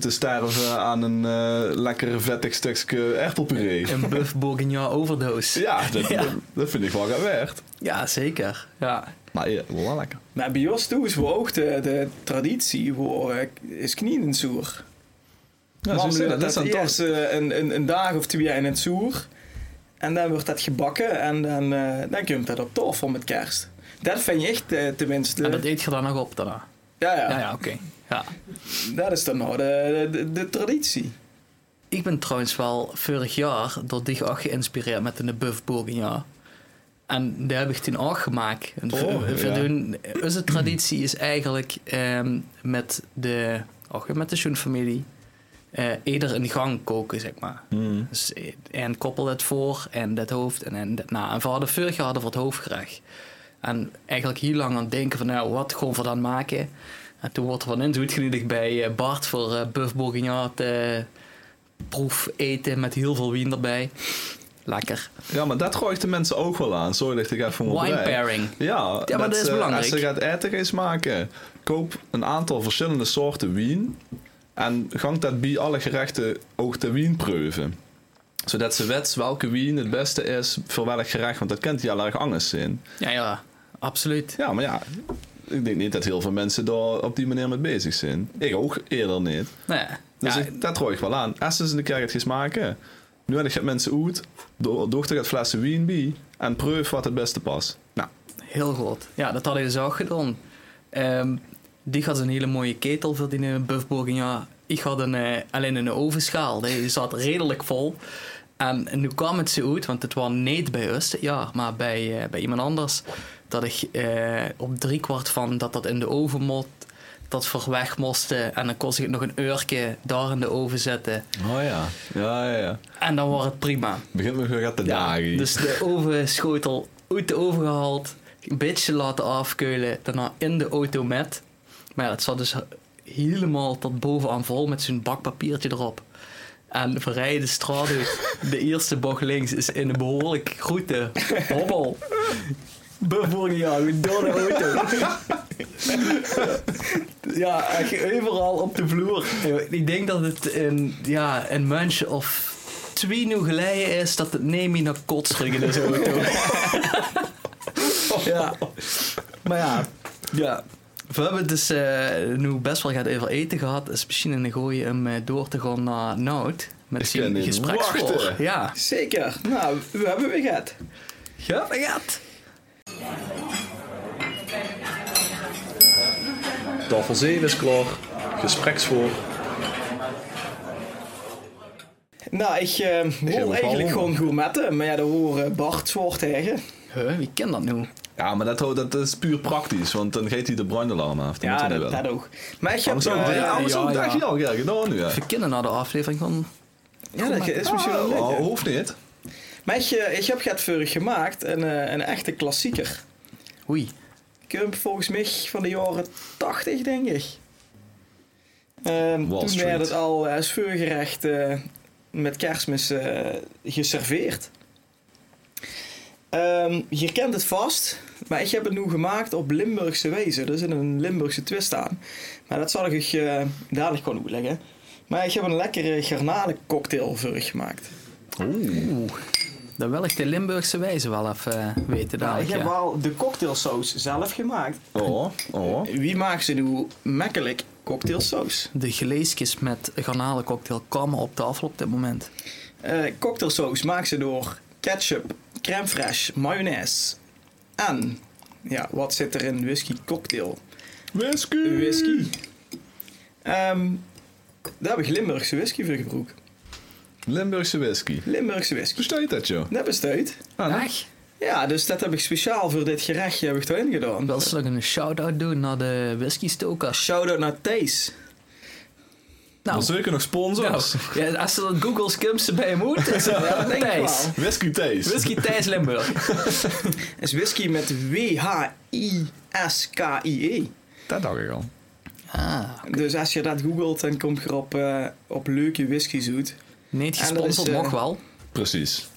Speaker 3: te sterven aan een eh lekker vettig stukje erpelpuree.
Speaker 2: Een buff bourguignon overdose.
Speaker 3: Ja, dat,
Speaker 2: Ja.
Speaker 3: Dat, dat vind ik wel gaan werd.
Speaker 2: Ja, zeker. Ja.
Speaker 3: Maar ja, wel lekker.
Speaker 4: Maar bij ons toe is voor ook de, de traditie voor eh, is knieën zoer.
Speaker 3: Ja, zo
Speaker 4: Namelijk
Speaker 3: is het. dat is
Speaker 4: dat
Speaker 3: dan toch...
Speaker 4: eerst eh, een, een, een dag of twee in het zoer. En dan wordt dat gebakken en dan, eh dan komt dat op tafel met kerst. Dat vind je echt eh, tenminste.
Speaker 2: En dat eet je dan nog op daarna.
Speaker 4: ja, ja,
Speaker 2: Ja, ja, oké. Ja.
Speaker 4: dat is dan nou de, de, de traditie.
Speaker 2: Ik ben trouwens wel vorig jaar door dich ook geïnspireerd met een buff bourguignon. En daar heb ik toen ook gemaakt. En
Speaker 3: Oh,
Speaker 2: we- we
Speaker 3: ja.
Speaker 2: doen, onze traditie is eigenlijk ehm, met de, ook met de schoenfamilie eh ieder een gang koken, zeg maar.
Speaker 3: Hmm.
Speaker 2: Dus, eh, en koppel het voor en dat hoofd en, en dat na. En we hadden vorig jaar hadden we het hoofdgerecht. En eigenlijk heel lang aan het denken van nou, wat gaan we dan maken? En toen wordt er van inzoet genietigd bij eh, Bart voor eh Buff Bourguignon te proef eten met heel veel wien erbij. Lekker.
Speaker 3: Ja, maar dat gooit de mensen ook wel aan. Sorry dat ik even
Speaker 2: Wine
Speaker 3: onderbreek.
Speaker 2: pairing.
Speaker 3: Ja, eh,
Speaker 2: Ja, maar dat is
Speaker 3: ze-
Speaker 2: belangrijk.
Speaker 3: Als je gaat ettergees maken, koop een aantal verschillende soorten wien. En gang dat bij alle gerechten ook de wien proeven. Zodat ze weten welke wien het beste is voor welk gerecht. Want dat kent die al erg anders in.
Speaker 2: Ja, ja, absoluut.
Speaker 3: Ja, maar ja, ik denk niet dat heel veel mensen daar op die manier mee bezig zijn. Ik ook eerder niet.
Speaker 2: Nee.
Speaker 3: Dus
Speaker 2: ja,
Speaker 3: ik- dat gooi ik wel aan. Als ze eens een keer het gaan maken. Nu heb ik het mensen uit. do- Dochter gaat flessen wien bij. En proef wat het beste past. Nou,
Speaker 2: Heel goed. Ja, dat hadden ze ook gedaan. Ehm, die had een hele mooie ketel voor die eh, buff bourguignon. Ik had een, eh, alleen een ovenschaal. Die zat redelijk vol. En nu kwam het zo uit, want het was niet bij ons dit jaar, maar bij, eh, bij iemand anders. Dat ik eh, op driekwart van dat dat in de oven mocht, dat voor weg moest. eh, En dan kon ik het nog een uurtje daar in de oven zetten.
Speaker 3: Oh ja. Ja, ja, ja.
Speaker 2: En dan was het prima.
Speaker 3: Begint me weer te
Speaker 2: Ja,
Speaker 3: dagen.
Speaker 2: dus de ovenschotel uit de oven gehaald, een beetje laten afkeulen, daarna in de auto met. Maar ja, het zat dus helemaal tot bovenaan vol met zo'n bakpapiertje erop. En we rijden de straat uit. De eerste bocht links is in een behoorlijk groete. Hobbel. Bevoorjagen door de auto. ja, echt overal op de vloer. Ik denk dat het een, ja, een mensje of twee nu geleden is dat het Nemi naar kots ging in deze auto. ja. Maar ja, ja. We hebben het dus eh, nu best wel gaat over eten gehad. Is misschien een gooi om eh, door te gaan naar Nout. Met
Speaker 3: Ik kan
Speaker 2: zijn
Speaker 3: niet
Speaker 2: gespreksvoor.
Speaker 3: wachten.
Speaker 2: Ja.
Speaker 4: Zeker. Nou, we hebben weer gehad.
Speaker 2: Ja, dat gaat.
Speaker 3: Tafel 7 is klaar. Gespreksvoor.
Speaker 4: Nou, ik eh
Speaker 3: nog
Speaker 4: wil
Speaker 3: wel
Speaker 4: eigenlijk
Speaker 3: honger.
Speaker 4: gewoon gourmetten, maar ja, daar horen Bart zwaar tegen.
Speaker 2: Huh, wie kent dat nu?
Speaker 3: Ja, maar dat, ho- dat is puur praktisch, want dan gaat hij de brandalarm af. Dat
Speaker 4: Ja,
Speaker 3: moet hij
Speaker 4: dat,
Speaker 3: wel.
Speaker 4: dat ook. Maar ik heb...
Speaker 3: Anders ook, ja,
Speaker 4: eh, ja,
Speaker 3: anders
Speaker 2: ja,
Speaker 3: ook,
Speaker 2: ja.
Speaker 3: dacht je al, ja, genau nu. Ja.
Speaker 2: We kennen nou de aflevering van...
Speaker 4: dat is misschien wel leuk.
Speaker 3: Oh,
Speaker 4: hè.
Speaker 3: hoeft niet.
Speaker 4: Maar ik, eh, ik heb het gemaakt, een, eh, een echte klassieker.
Speaker 2: Oei.
Speaker 4: Ik heb hem volgens mij van de jaren 80, denk ik. Ehm,
Speaker 3: Wall
Speaker 4: toen
Speaker 3: Street.
Speaker 4: werd het al eh, als vuurgerecht eh, met kerstmis eh, geserveerd. Ehm, je kent het vast, maar ik heb het nu gemaakt op Limburgse wezen. Er zit een Limburgse twist aan. Maar dat zal ik je eh, dadelijk gewoon uitleggen. Maar ik heb een lekkere garnalencocktail voor je gemaakt.
Speaker 2: Dan wil ik de Limburgse wijze wel even eh, weten
Speaker 4: Nou, ik
Speaker 2: dadelijk.
Speaker 4: heb
Speaker 2: ja.
Speaker 4: wel de cocktailsaus zelf gemaakt.
Speaker 3: Oh, oh.
Speaker 4: Wie maakt ze nu makkelijk cocktailsaus?
Speaker 2: De geleesjes met garnalencocktail komen op tafel op dit moment.
Speaker 4: Eh cocktailsaus maakt ze door ketchup, crème fraîche, mayonaise en... Ja, wat zit er in whisky cocktail?
Speaker 3: Whisky!
Speaker 4: Whisky. Ehm, daar heb ik Limburgse whisky voor gebruikt.
Speaker 3: Limburgse whisky.
Speaker 4: Limburgse whisky.
Speaker 3: Besteed dat,
Speaker 2: Nou.
Speaker 3: joh.
Speaker 4: Dat besteedt.
Speaker 2: Echt?
Speaker 4: Ja, dus dat heb ik speciaal voor dit gerechtje heb ik erin gedaan.
Speaker 2: Wil ze nog een shout-out doen naar de whiskystokers?
Speaker 4: Shout-out naar Thees.
Speaker 3: Maar
Speaker 2: Nou,
Speaker 3: zeker nog sponsors.
Speaker 2: ja, als ze dat Google Skims erbij moet, is het wel
Speaker 4: denk ik
Speaker 2: Thijs.
Speaker 4: wel.
Speaker 3: Whisky Thees.
Speaker 2: Whisky Thijs Limburg.
Speaker 4: is whisky met W-H-I-S-K-I-E.
Speaker 3: Dat dacht ik al.
Speaker 2: Ah,
Speaker 4: E. Dus als je dat googelt, dan kom je er op, eh, op leuke whisky zoet.
Speaker 2: niet
Speaker 4: En dat
Speaker 2: gesponsord,
Speaker 4: is, eh,
Speaker 2: nog wel.
Speaker 3: Precies.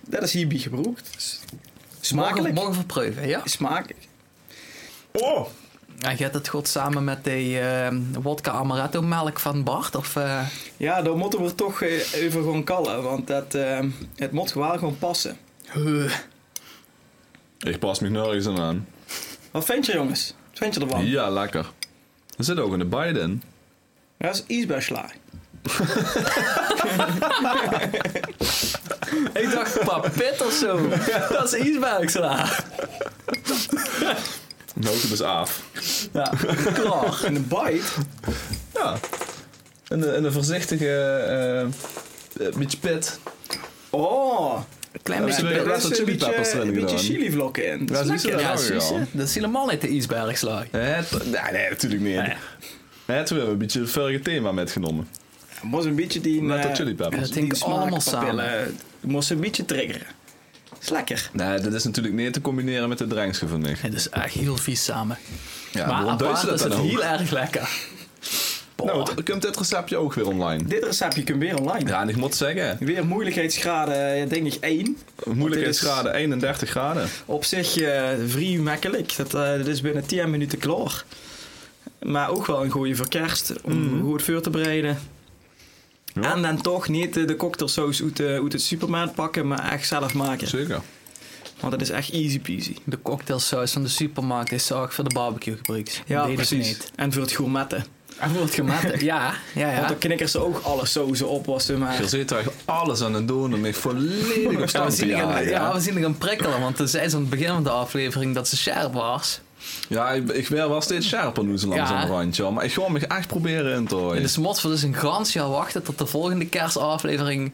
Speaker 4: Dat is hierbij gebroekt. Dus
Speaker 2: Morgen,
Speaker 4: Smakelijk.
Speaker 2: morgen verproeven, ja.
Speaker 4: Smakelijk.
Speaker 3: Oh!
Speaker 2: En gaat het goed samen met de eh wodka amaretto melk van Bart? Of, eh,
Speaker 4: Ja, dan moeten we er toch eh, even gewoon kallen, want dat, eh, het moet wel gewoon passen.
Speaker 3: Ik pas me nergens aan aan.
Speaker 4: Wat vind je jongens? Wat vind je ervan? Ja.
Speaker 3: Ja, lekker. Er zit ook een Biden in.
Speaker 4: Dat is ijsbeersla.
Speaker 2: ik dacht papit of zo. Dat is ijsbergsla.
Speaker 3: Nou, het is af.
Speaker 2: Ja, klaar.
Speaker 4: En een bite?
Speaker 3: Ja. En een, en een voorzichtige... eh, eh, beetje pit.
Speaker 4: Oh!
Speaker 2: Klein
Speaker 3: Hebben ze
Speaker 2: beetje.
Speaker 3: weer-
Speaker 4: Er
Speaker 3: laat
Speaker 4: is
Speaker 3: wat
Speaker 4: een
Speaker 3: chili peppers
Speaker 4: beetje,
Speaker 3: erin
Speaker 4: een beetje
Speaker 3: gedaan.
Speaker 4: chilivlokken in. Dat
Speaker 3: Ja,
Speaker 4: is
Speaker 3: zie je
Speaker 4: lekker.
Speaker 2: Ja,
Speaker 3: dat ook
Speaker 2: precies.
Speaker 3: al?
Speaker 2: hè. Dat is helemaal niet de ijsbergsla.
Speaker 3: Het, nee, nee, natuurlijk niet.
Speaker 2: Nee.
Speaker 3: Het, we hebben een beetje een verre thema metgenomen.
Speaker 4: Het moest een beetje die...
Speaker 3: Met
Speaker 4: eh,
Speaker 3: de chili peppers.
Speaker 2: Dat denk ik
Speaker 4: smaak-
Speaker 2: allemaal
Speaker 4: papillen,
Speaker 2: samen.
Speaker 4: eh, moest een beetje triggeren. is lekker.
Speaker 3: Nee, dat is natuurlijk niet te combineren met de drankje van mij.
Speaker 2: Het is echt heel vies samen.
Speaker 3: Ja,
Speaker 2: maar
Speaker 3: waarom
Speaker 2: apart
Speaker 3: duizen
Speaker 2: is het
Speaker 3: dan ook?
Speaker 2: heel erg lekker.
Speaker 3: Nou, het- komt dit receptje ook weer online?
Speaker 4: Dit receptje kun je weer online.
Speaker 3: Ja, en ik moet zeggen,
Speaker 4: Weer moeilijkheidsgraden, eh, denk ik, 1.
Speaker 3: moeilijkheidsgraden 31 graden.
Speaker 4: Op zich eh vrij makkelijk. Dat, eh, dat is binnen 10 minuten klaar. Maar ook wel een goede voor kerst. Om goed vuur te bereiden.
Speaker 3: Ja.
Speaker 4: En dan toch niet eh, de cocktailsaus uit, de uit het supermarkt pakken, maar echt zelf maken.
Speaker 3: Zeker.
Speaker 4: Want dat is echt easy peasy.
Speaker 2: De cocktailsaus van de supermarkt is zorg voor de barbecue gebruikt.
Speaker 4: Ja,
Speaker 2: Deed ik
Speaker 4: precies.
Speaker 2: niet.
Speaker 4: En voor het gourmetten.
Speaker 2: En voor het gematen. Ja, ja,
Speaker 4: Want
Speaker 2: ja.
Speaker 4: dan knikken ze ook alle sauzen op als ze maar...
Speaker 3: Er zit eigenlijk alles aan het doen om ik volledig op
Speaker 2: Ja, we
Speaker 3: stand te
Speaker 2: zien er
Speaker 3: jagen.
Speaker 2: een, ja,
Speaker 3: Ja,
Speaker 2: we zien er een prikkelen, want toen zei ze aan het begin van de aflevering dat ze scherp was.
Speaker 3: ja ik, ik ben wel steeds scherper nu zo langzaam randje. hoor. Maar ik ga me echt proberen in te
Speaker 2: En
Speaker 3: houden.
Speaker 2: dus motten we dus een gans jaar wachten tot de volgende kerstaflevering,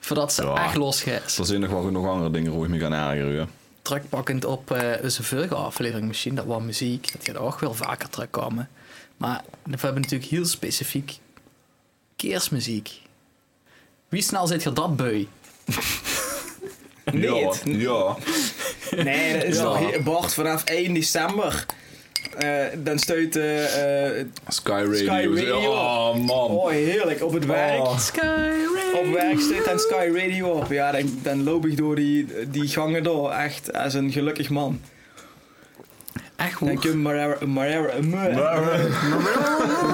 Speaker 2: voordat ze
Speaker 3: Ja.
Speaker 2: echt losgaat.
Speaker 3: Er zijn nog wel nog andere dingen waar ik me gaan ergeren. hoor.
Speaker 2: Terugpakkend op eh onze vorige aflevering misschien, dat was muziek, dat gaat ook wel vaker terugkomen. Maar we hebben natuurlijk heel specifiek kerstmuziek. Wie snel zit je dat bui?
Speaker 4: Nee,
Speaker 3: Ja,
Speaker 4: het-
Speaker 3: ja.
Speaker 4: Nee, dat is
Speaker 2: Ja.
Speaker 4: nog hier- Bart, vanaf 1 december. Eh, dan stuit... eh, eh,
Speaker 3: Sky Radio.
Speaker 4: Sky Radio.
Speaker 3: Oh man.
Speaker 4: oh, heerlijk. Op het werk.
Speaker 3: Oh.
Speaker 4: Op werk staat dan Sky Radio op. Ja, dan, dan loop ik door die, die gangen door. Echt als een gelukkig man.
Speaker 2: Echt
Speaker 4: Dan
Speaker 2: hoe?
Speaker 4: kun je Marera... Marera...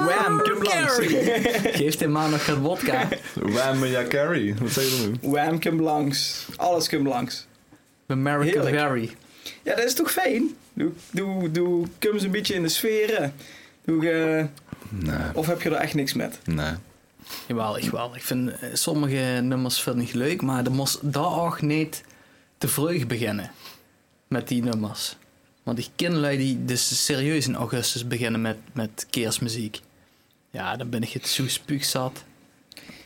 Speaker 4: Wham, kom langs.
Speaker 2: Geeft hem maar nog geen wodka.
Speaker 3: Wham ja carry. Wat zeg je dan nu?
Speaker 4: Wham, kom langs. Alles kom langs.
Speaker 2: American
Speaker 4: Heerlijk.
Speaker 2: Berry.
Speaker 4: Ja, dat is toch fijn? Doe, doe, doe, kom eens een beetje in de sferen. Doe, eh,
Speaker 3: Nee,
Speaker 4: of heb je er echt niks met?
Speaker 3: nee.
Speaker 2: Jawel, ik wel. Ik vind eh, sommige nummers vind ik leuk, maar er moest daar ook niet te vroeg beginnen met die nummers. Want ik ken lui die dus serieus in augustus beginnen met, met kerstmuziek. Ja, dan ben ik het zo spuugzat.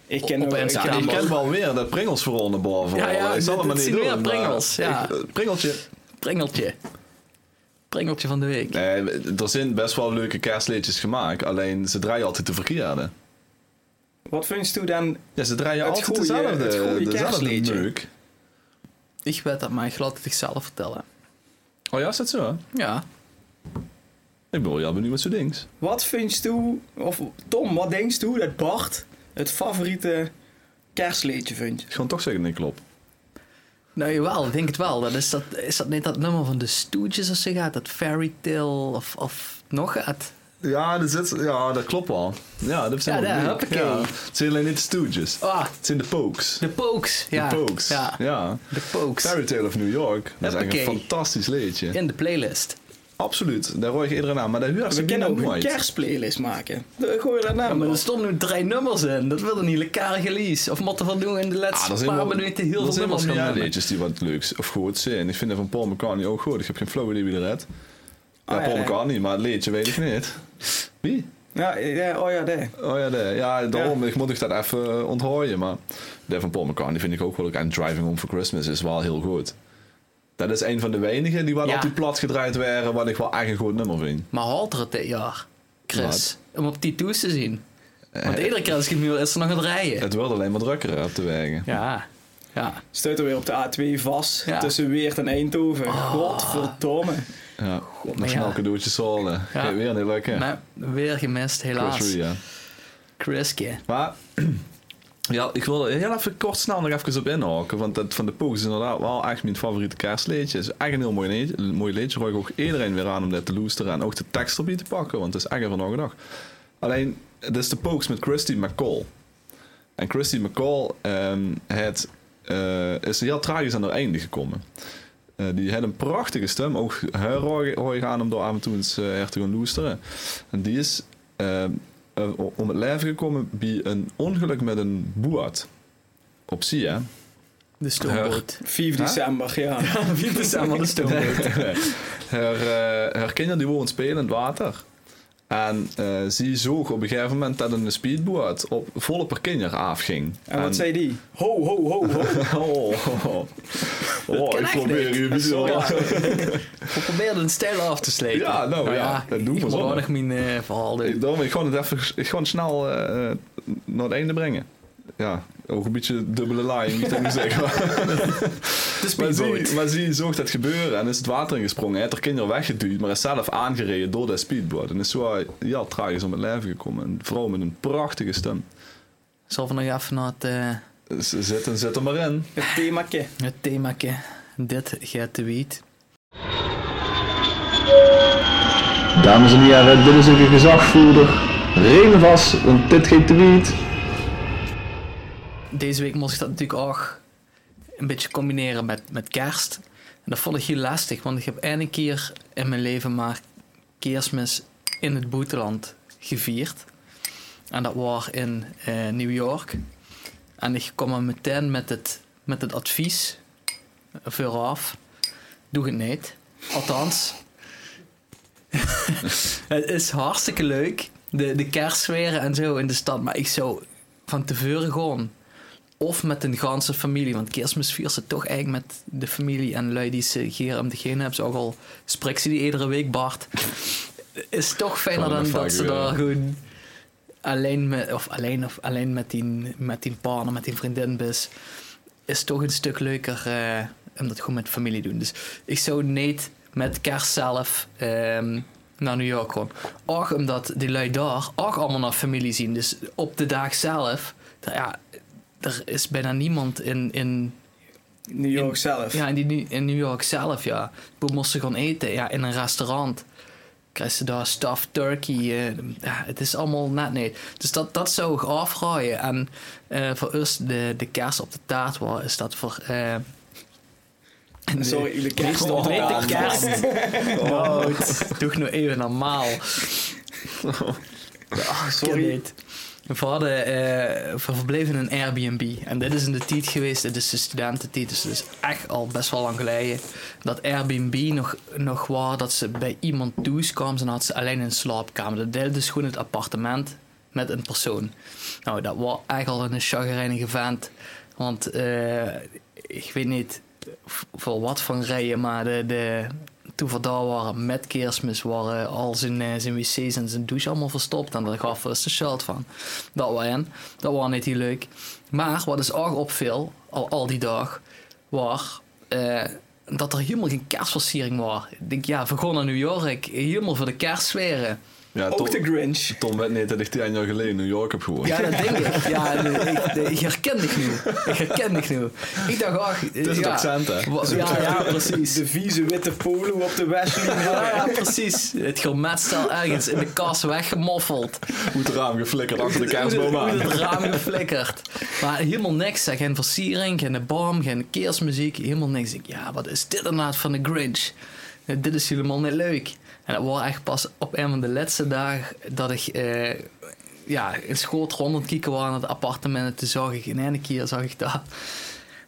Speaker 4: Ik ken
Speaker 2: Op
Speaker 4: ook- ik
Speaker 2: Insta.
Speaker 4: ken-
Speaker 3: Ja,
Speaker 2: Ja,
Speaker 3: ik
Speaker 2: maar-
Speaker 3: ken wel weer dat Pringels vooral naar boven.
Speaker 2: Ja, ja,
Speaker 3: ik zal
Speaker 2: dit-
Speaker 3: het maar
Speaker 2: dit
Speaker 3: niet
Speaker 2: zien
Speaker 3: doen.
Speaker 2: weer
Speaker 3: maar
Speaker 2: Pringels, ja.
Speaker 3: ik- eh, Pringeltje.
Speaker 2: Pringeltje. pringeltje van de week.
Speaker 3: Nee, er zijn best wel leuke kerstliedjes gemaakt, alleen ze draaien altijd de verkeerde.
Speaker 4: Wat vindst u dan?
Speaker 3: Ja, ze draaien
Speaker 4: Het
Speaker 3: altijd
Speaker 4: goeie-
Speaker 3: dezelfde,
Speaker 4: het goeie
Speaker 3: dezelfde
Speaker 4: kerstliedje.
Speaker 3: meuk.
Speaker 2: Ik weet dat, maar ik laat het zichzelf vertellen.
Speaker 3: Oh ja, is dat zo?
Speaker 2: Ja.
Speaker 3: Ik ben wel heel benieuwd wat zo dings.
Speaker 4: Wat vindst u? Of Tom, wat denkt u dat Bart het favoriete kerstliedje vindt?
Speaker 3: Ik ga toch zeggen, nee, klopt.
Speaker 2: Nou jawel, ik denk het wel. Dat is, dat, is dat niet dat nummer van de Stooges als ze gaat? Dat Fairy Tale of, of nog gaat?
Speaker 3: Ja, dat, zit, ja, dat klopt wel. Ja, dat
Speaker 2: Ja,
Speaker 3: zijn wel
Speaker 2: daar,
Speaker 3: leuk.
Speaker 2: hoppakee.
Speaker 3: Ja. Het zijn alleen niet de Stooges.
Speaker 2: Ah,
Speaker 3: Het zijn de Pokes.
Speaker 2: de Pokes. Ja.
Speaker 3: de Pokes.
Speaker 2: Ja,
Speaker 3: ja.
Speaker 2: de Pokes.
Speaker 3: Fairy Tale of New York. Dat is eigenlijk een
Speaker 2: Hoppakee.
Speaker 3: fantastisch liedje.
Speaker 2: In de playlist.
Speaker 3: Absoluut, daar hoor je iedereen aan. Maar daar huur
Speaker 4: We
Speaker 3: ze
Speaker 4: kunnen ook
Speaker 3: nooit.
Speaker 4: een kerstplaylist maken. Dan Gooi je dat nou
Speaker 2: Ja,
Speaker 4: naam
Speaker 2: maar
Speaker 4: op.
Speaker 2: er stonden nu drie nummers in. Dat wilde een hele karige lease. Of motten van doen in de
Speaker 3: Ah,
Speaker 2: laatste
Speaker 3: er zijn
Speaker 2: paar
Speaker 3: wel-
Speaker 2: minuten
Speaker 3: er
Speaker 2: heel veel
Speaker 3: zijn wel
Speaker 2: nummers gaan
Speaker 3: meer
Speaker 2: nemen.
Speaker 3: liedjes die wat leuks of goed zijn. Ik vind dat van Paul McCartney ook goed. Ik heb geen flow idee wie dat redt. Ja,
Speaker 4: Ah, ja,
Speaker 3: Paul
Speaker 4: ja.
Speaker 3: McCartney, maar het liedje weet ik niet. Wie?
Speaker 4: Ja, ja, oh ja, daar.
Speaker 3: Oh ja, de, ja daarom Ik moet ik dat even eh, onthooien. Maar de van Paul McCartney vind ik ook wel leuk. En Driving Home for Christmas is wel heel goed. Dat is een van de weinigen die wat
Speaker 2: Ja.
Speaker 3: op die plat gedraaid werden, wat ik wel echt een goed nummer vind.
Speaker 2: Maar haalt er het dit jaar, Chris? Om op die toes te zien. Want
Speaker 3: Eh,
Speaker 2: iedere keer als ik het nu wil, is er nog aan het rijden.
Speaker 3: Het wordt alleen maar drukker op de wegen.
Speaker 2: Ja. Ja.
Speaker 4: Stuit er weer op de A2 vast
Speaker 2: Ja. Ah.
Speaker 4: tussen Weert en Eindhoven. Godverdomme.
Speaker 3: Ja.
Speaker 2: maar
Speaker 3: Nationaal
Speaker 2: ja.
Speaker 3: cadeautjes halen.
Speaker 2: Ja.
Speaker 3: Weer een heel leuke.
Speaker 2: Maar weer gemist, helaas.
Speaker 3: Chris Rea.
Speaker 2: Chriske.
Speaker 3: Maar ja, ik wil er heel even kort snel nog even op inhaken. Want dat van de Pogues is inderdaad wel echt mijn favoriete kerstliedje. Het is echt een heel mooi liedje. Een mooi liedje. Rooi ik ook iedereen weer aan om dat te loesteren. En ook de tekst erbij te pakken. Want het is echt van nog en nog. Alleen, het is de Pogues met Christy McCall. En Christy McCall ehm, het, eh, is heel tragisch aan haar einde gekomen. Eh, die had een prachtige stem. Ook haar hoor je aan om door af en toe eens eh, her te gaan loesteren. En die is ehm, eh, om het leven gekomen bij een ongeluk met een boat. Op zee, hè?
Speaker 2: De stoomboot.
Speaker 4: 4
Speaker 3: Huh?
Speaker 4: december, ja.
Speaker 2: 4 december de stoomboot.
Speaker 3: haar, eh, haar kinderen die wonen spelen in het water. En eh ze zoog op een gegeven moment dat een speedboot op volle per kinder afging.
Speaker 4: En wat zei die? Ho, ho, ho, ho.
Speaker 3: Oh, oh, oh. oh ik
Speaker 2: echt
Speaker 3: probeer
Speaker 2: niet.
Speaker 3: je bijzonder.
Speaker 2: We probeerden een stijl af te slepen.
Speaker 3: Ja, nou ja, dat doen we
Speaker 2: Ik moet
Speaker 3: zondag.
Speaker 2: ook nog mijn eh, verhaal doen.
Speaker 3: Ik, daarom, ik ga het even ik ga het snel eh, eh, naar het einde brengen. Ja, ook een beetje dubbele laai, moet ik dat nu zeggen.
Speaker 2: De
Speaker 3: Maar
Speaker 2: speedboot.
Speaker 3: zie, maar zie, zag dat gebeuren en is het water ingesprongen. Hij heeft er kinderen weggeduwd, maar is zelf aangereden door dat speedboot. En is zo ja, tragisch om het leven gekomen. En vooral met een prachtige stem.
Speaker 2: Zal we nog even naar het, eh,
Speaker 3: Z- Zet, en zet er maar in.
Speaker 4: Het themaatje.
Speaker 2: het themaatje. Dit gaat de wiet.
Speaker 6: Dames en heren, dit is een gezagvoerder. Reden vast, want dit geeft de wiet.
Speaker 2: Deze week moest ik dat natuurlijk ook een beetje combineren met, met kerst. En dat vond ik heel lastig, want ik heb één keer in mijn leven maar kerstmis in het buitenland gevierd. En dat was in eh, New York. En ik kwam er meteen met het, met het advies vooraf, doe het niet. Althans, het is hartstikke leuk, de, de kerstsferen en zo in de stad. Maar ik zou van tevoren gewoon of met een ganse familie. Want kerstmis viert ze toch eigenlijk met de familie en lui die ze hier om de heen hebben. Ze Ook al spreekt ze die iedere week, Bart. Is toch fijner
Speaker 3: Gewoon
Speaker 2: dan
Speaker 3: een
Speaker 2: dat ze
Speaker 3: vacuüm.
Speaker 2: daar gewoon alleen met, of alleen, of alleen met, die, met die partner, met die vriendin bent. Is toch een stuk leuker eh, om dat gewoon met familie te doen. Dus ik zou niet met kerst zelf ehm, naar New York gaan. Ook omdat die lui daar ook allemaal naar familie zien. Dus op de dag zelf, daar- ja, er is bijna niemand in, in
Speaker 4: New York
Speaker 2: In-
Speaker 4: zelf.
Speaker 2: ja, in, die, New- in New York zelf, ja. Toen moesten ze gaan eten, ja, in een restaurant. Krijg ze daar stuffed turkey. eh, ja, het is allemaal net nee. Dus dat, dat zou ik afraaien. En eh, voor ons de, de kaas op de taart was, is dat voor... eh, de-
Speaker 4: Sorry, de kerst
Speaker 2: Kerst
Speaker 4: op de
Speaker 2: ontbreekt de
Speaker 4: taart.
Speaker 2: kerst. Oh, het- doe ik nou even normaal. Oh,
Speaker 4: Sorry.
Speaker 2: sorry. We hadden, eh, we verbleven in een Airbnb. En dit is in de tijd geweest, dit is de studententijd. Dus het is echt al best wel lang geleden. Dat Airbnb nog, nog was dat ze bij iemand thuis kwam. En had ze alleen een slaapkamer. Dat deelde dus gewoon het appartement met een persoon. Nou, dat was echt al een chagrijnige vent. Want eh, ik weet niet v- voor wat van rijden, maar de, de, toen we daar waren met kerstmis, waren al zijn, eh, zijn wc's en zijn douche allemaal verstopt. En daar gaf we de shirt van. Dat was in. Dat was niet heel leuk. Maar wat is ook opviel, al, al die dag, was eh, dat er helemaal geen kerstversiering was. Ik denk, ja, we gaan naar New York, helemaal voor de kerstsferen.
Speaker 3: Ja,
Speaker 4: Ook
Speaker 3: Tom,
Speaker 4: de Grinch.
Speaker 3: Tom weet niet dat ik tien jaar geleden in New York heb gewoond.
Speaker 2: Ja, dat denk ik. Ja, nee, ik, nee, ik herken ik nu. Ik herken ik nu. Ik dacht, ach... Het
Speaker 3: is het
Speaker 2: ja,
Speaker 3: accent, hè?
Speaker 2: wa- Ja, ja, precies.
Speaker 4: De vieze witte polo op de Wesley.
Speaker 2: Ja, ja, precies. Het gourmetstel ergens in de kast weggemoffeld.
Speaker 3: Hoe het raam geflikkerd achter de kerstboom
Speaker 2: Hoe
Speaker 3: aan.
Speaker 2: het raam geflikkerd. Maar helemaal niks. zeg. Geen versiering, geen bom, geen kerstmuziek. Helemaal niks. Ik, ja, wat is dit inderdaad van de Grinch? Eh, dit is helemaal niet leuk. En dat was echt pas op een van de laatste dagen dat ik... eh, ja, in schoot rond aan het kijken was aan het appartement. En toen zag ik in ene keer zag ik daar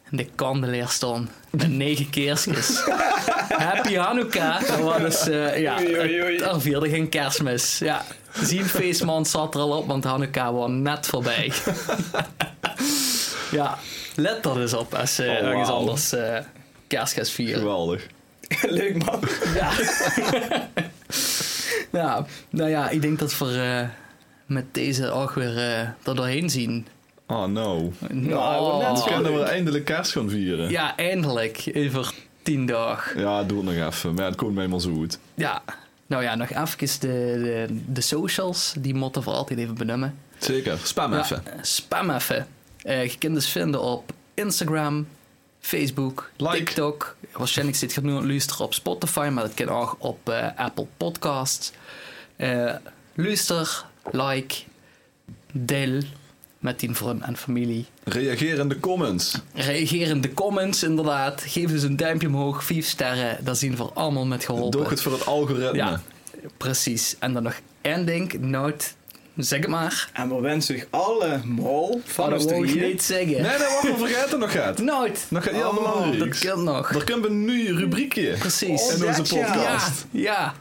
Speaker 2: de kandelaar staan met negen kerstjes. Happy Hanukkah. Dat was dus, eh, ja,
Speaker 4: Oei, oei, oei.
Speaker 2: er vierde geen kerstmis. Ja, zien feestman zat er al op, want Hanukkah was net voorbij. ja, let er dus op als eh,
Speaker 3: Oh, wauw.
Speaker 2: ergens anders eh kerst gaat vieren.
Speaker 3: Geweldig.
Speaker 4: Leuk man.
Speaker 2: Ja. ja, nou ja, ik denk dat we eh, met deze ook weer eh er doorheen zien.
Speaker 3: Oh no.
Speaker 2: Nou,
Speaker 3: We kunnen we eindelijk kerst gaan vieren. Ja,
Speaker 2: Ja, eindelijk. Over tien dagen.
Speaker 3: doe het nog even. Maar ja, het komt me helemaal zo goed.
Speaker 2: Ja. Nou ja, nog even de, de, de socials. Die motten voor altijd even benoemen.
Speaker 3: Zeker. Spam
Speaker 2: Ja,
Speaker 3: even.
Speaker 2: Spam even. Eh, je kunt dus vinden op Instagram, Facebook,
Speaker 3: Like.
Speaker 2: TikTok. Waarschijnlijk zit je nu aan het luisteren op Spotify, maar dat kan ook op eh, Apple Podcasts. Eh, luister, like, deel met tien vrienden en familie.
Speaker 3: Reageer in de comments.
Speaker 2: Reageer in de comments, inderdaad. Geef dus een duimpje omhoog, vijf sterren. Daar zien we allemaal met geholpen.
Speaker 3: Doe het voor het algoritme.
Speaker 2: Ja, precies. En dan nog één ding, nooit, zeg het maar.
Speaker 4: En we wensen zich allemaal van
Speaker 2: dat
Speaker 4: ons
Speaker 2: wou ik
Speaker 4: drieën.
Speaker 2: niet zeggen.
Speaker 3: Nee, nee, wacht, we vergeten nog het.
Speaker 2: Nooit.
Speaker 3: Nog gaat iets helemaal
Speaker 2: Oh, Dat
Speaker 3: niks.
Speaker 2: kan nog.
Speaker 3: Er komt een nieuw rubriekje.
Speaker 2: Precies.
Speaker 3: In onze
Speaker 4: dat ja.
Speaker 2: ja,
Speaker 3: podcast.
Speaker 2: ja.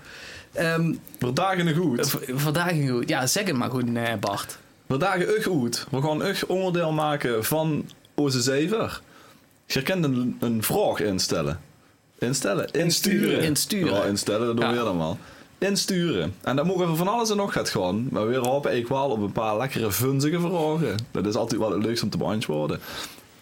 Speaker 2: Ehm,
Speaker 3: We dagen er goed.
Speaker 2: v- vandaag een goed. Ja, zeg het maar goed, eh, Bart.
Speaker 3: We dagen echt goed. We gaan echt onderdeel maken van onze zever. Je kunt een, een vraag instellen. Instellen? Insturen.
Speaker 2: Insturen.
Speaker 3: Ja, instellen, dat doen we
Speaker 2: Ja.
Speaker 3: allemaal. Insturen. En dat mogen we van alles en nog gaat gaan. Maar weer hopen ik wel op een paar lekkere, vunzige vragen. Dat is altijd wel het leukste om te beantwoorden.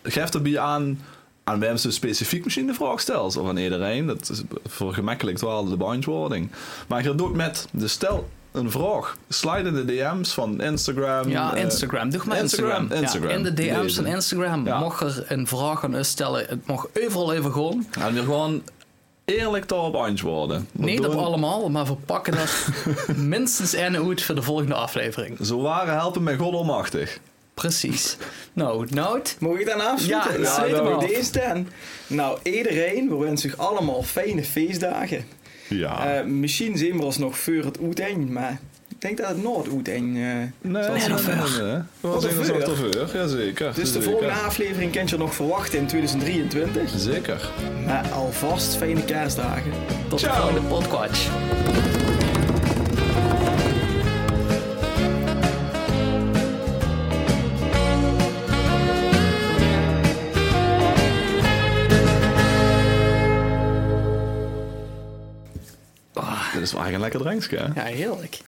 Speaker 3: Geef erbij aan aan wem ze specifiek misschien de vraag stelt. Of aan iedereen. Dat is vergemakkelijkt wel de beantwoording. Maar je doet met de stel een vraag. Slide in de DM's van Instagram.
Speaker 2: Ja,
Speaker 3: eh,
Speaker 2: Instagram. Doe maar Instagram.
Speaker 3: Instagram. Instagram.
Speaker 2: Ja, in de DM's
Speaker 3: Deze.
Speaker 2: van Instagram.
Speaker 3: Ja.
Speaker 2: Mocht er een vraag aan ons stellen, het mag overal even gewoon.
Speaker 3: En weer gewoon eerlijk daarop antwoorden. We
Speaker 2: Niet op
Speaker 3: doen-
Speaker 2: allemaal, maar we pakken er minstens één uit voor de volgende aflevering.
Speaker 3: Zo waren helpen met God almachtig.
Speaker 2: Precies. Nou, Nout.
Speaker 4: Mag ik dan
Speaker 2: Ja,
Speaker 4: afsluiten?
Speaker 2: Ja, sluit hem
Speaker 4: nou,
Speaker 2: af.
Speaker 4: deze dan. Nou, iedereen, we wensen zich allemaal fijne feestdagen.
Speaker 3: Ja.
Speaker 2: Ah.
Speaker 4: Eh, misschien zien we ons nog voor het oeteind, maar ik denk dat het nooit oeteind eh
Speaker 3: Nee, dat is
Speaker 2: dat
Speaker 3: een ander. Eh, Dat was
Speaker 4: Wat
Speaker 3: een
Speaker 4: een
Speaker 3: soort verveur, jazeker.
Speaker 4: Dus de
Speaker 3: Jazeker.
Speaker 4: volgende aflevering kent je nog verwachten in 2023.
Speaker 3: Zeker.
Speaker 4: Maar alvast fijne kerstdagen.
Speaker 2: Tot de volgende podcast.
Speaker 3: Dit is wel eigenlijk een lekker drankje, hè?
Speaker 2: Ja, heerlijk.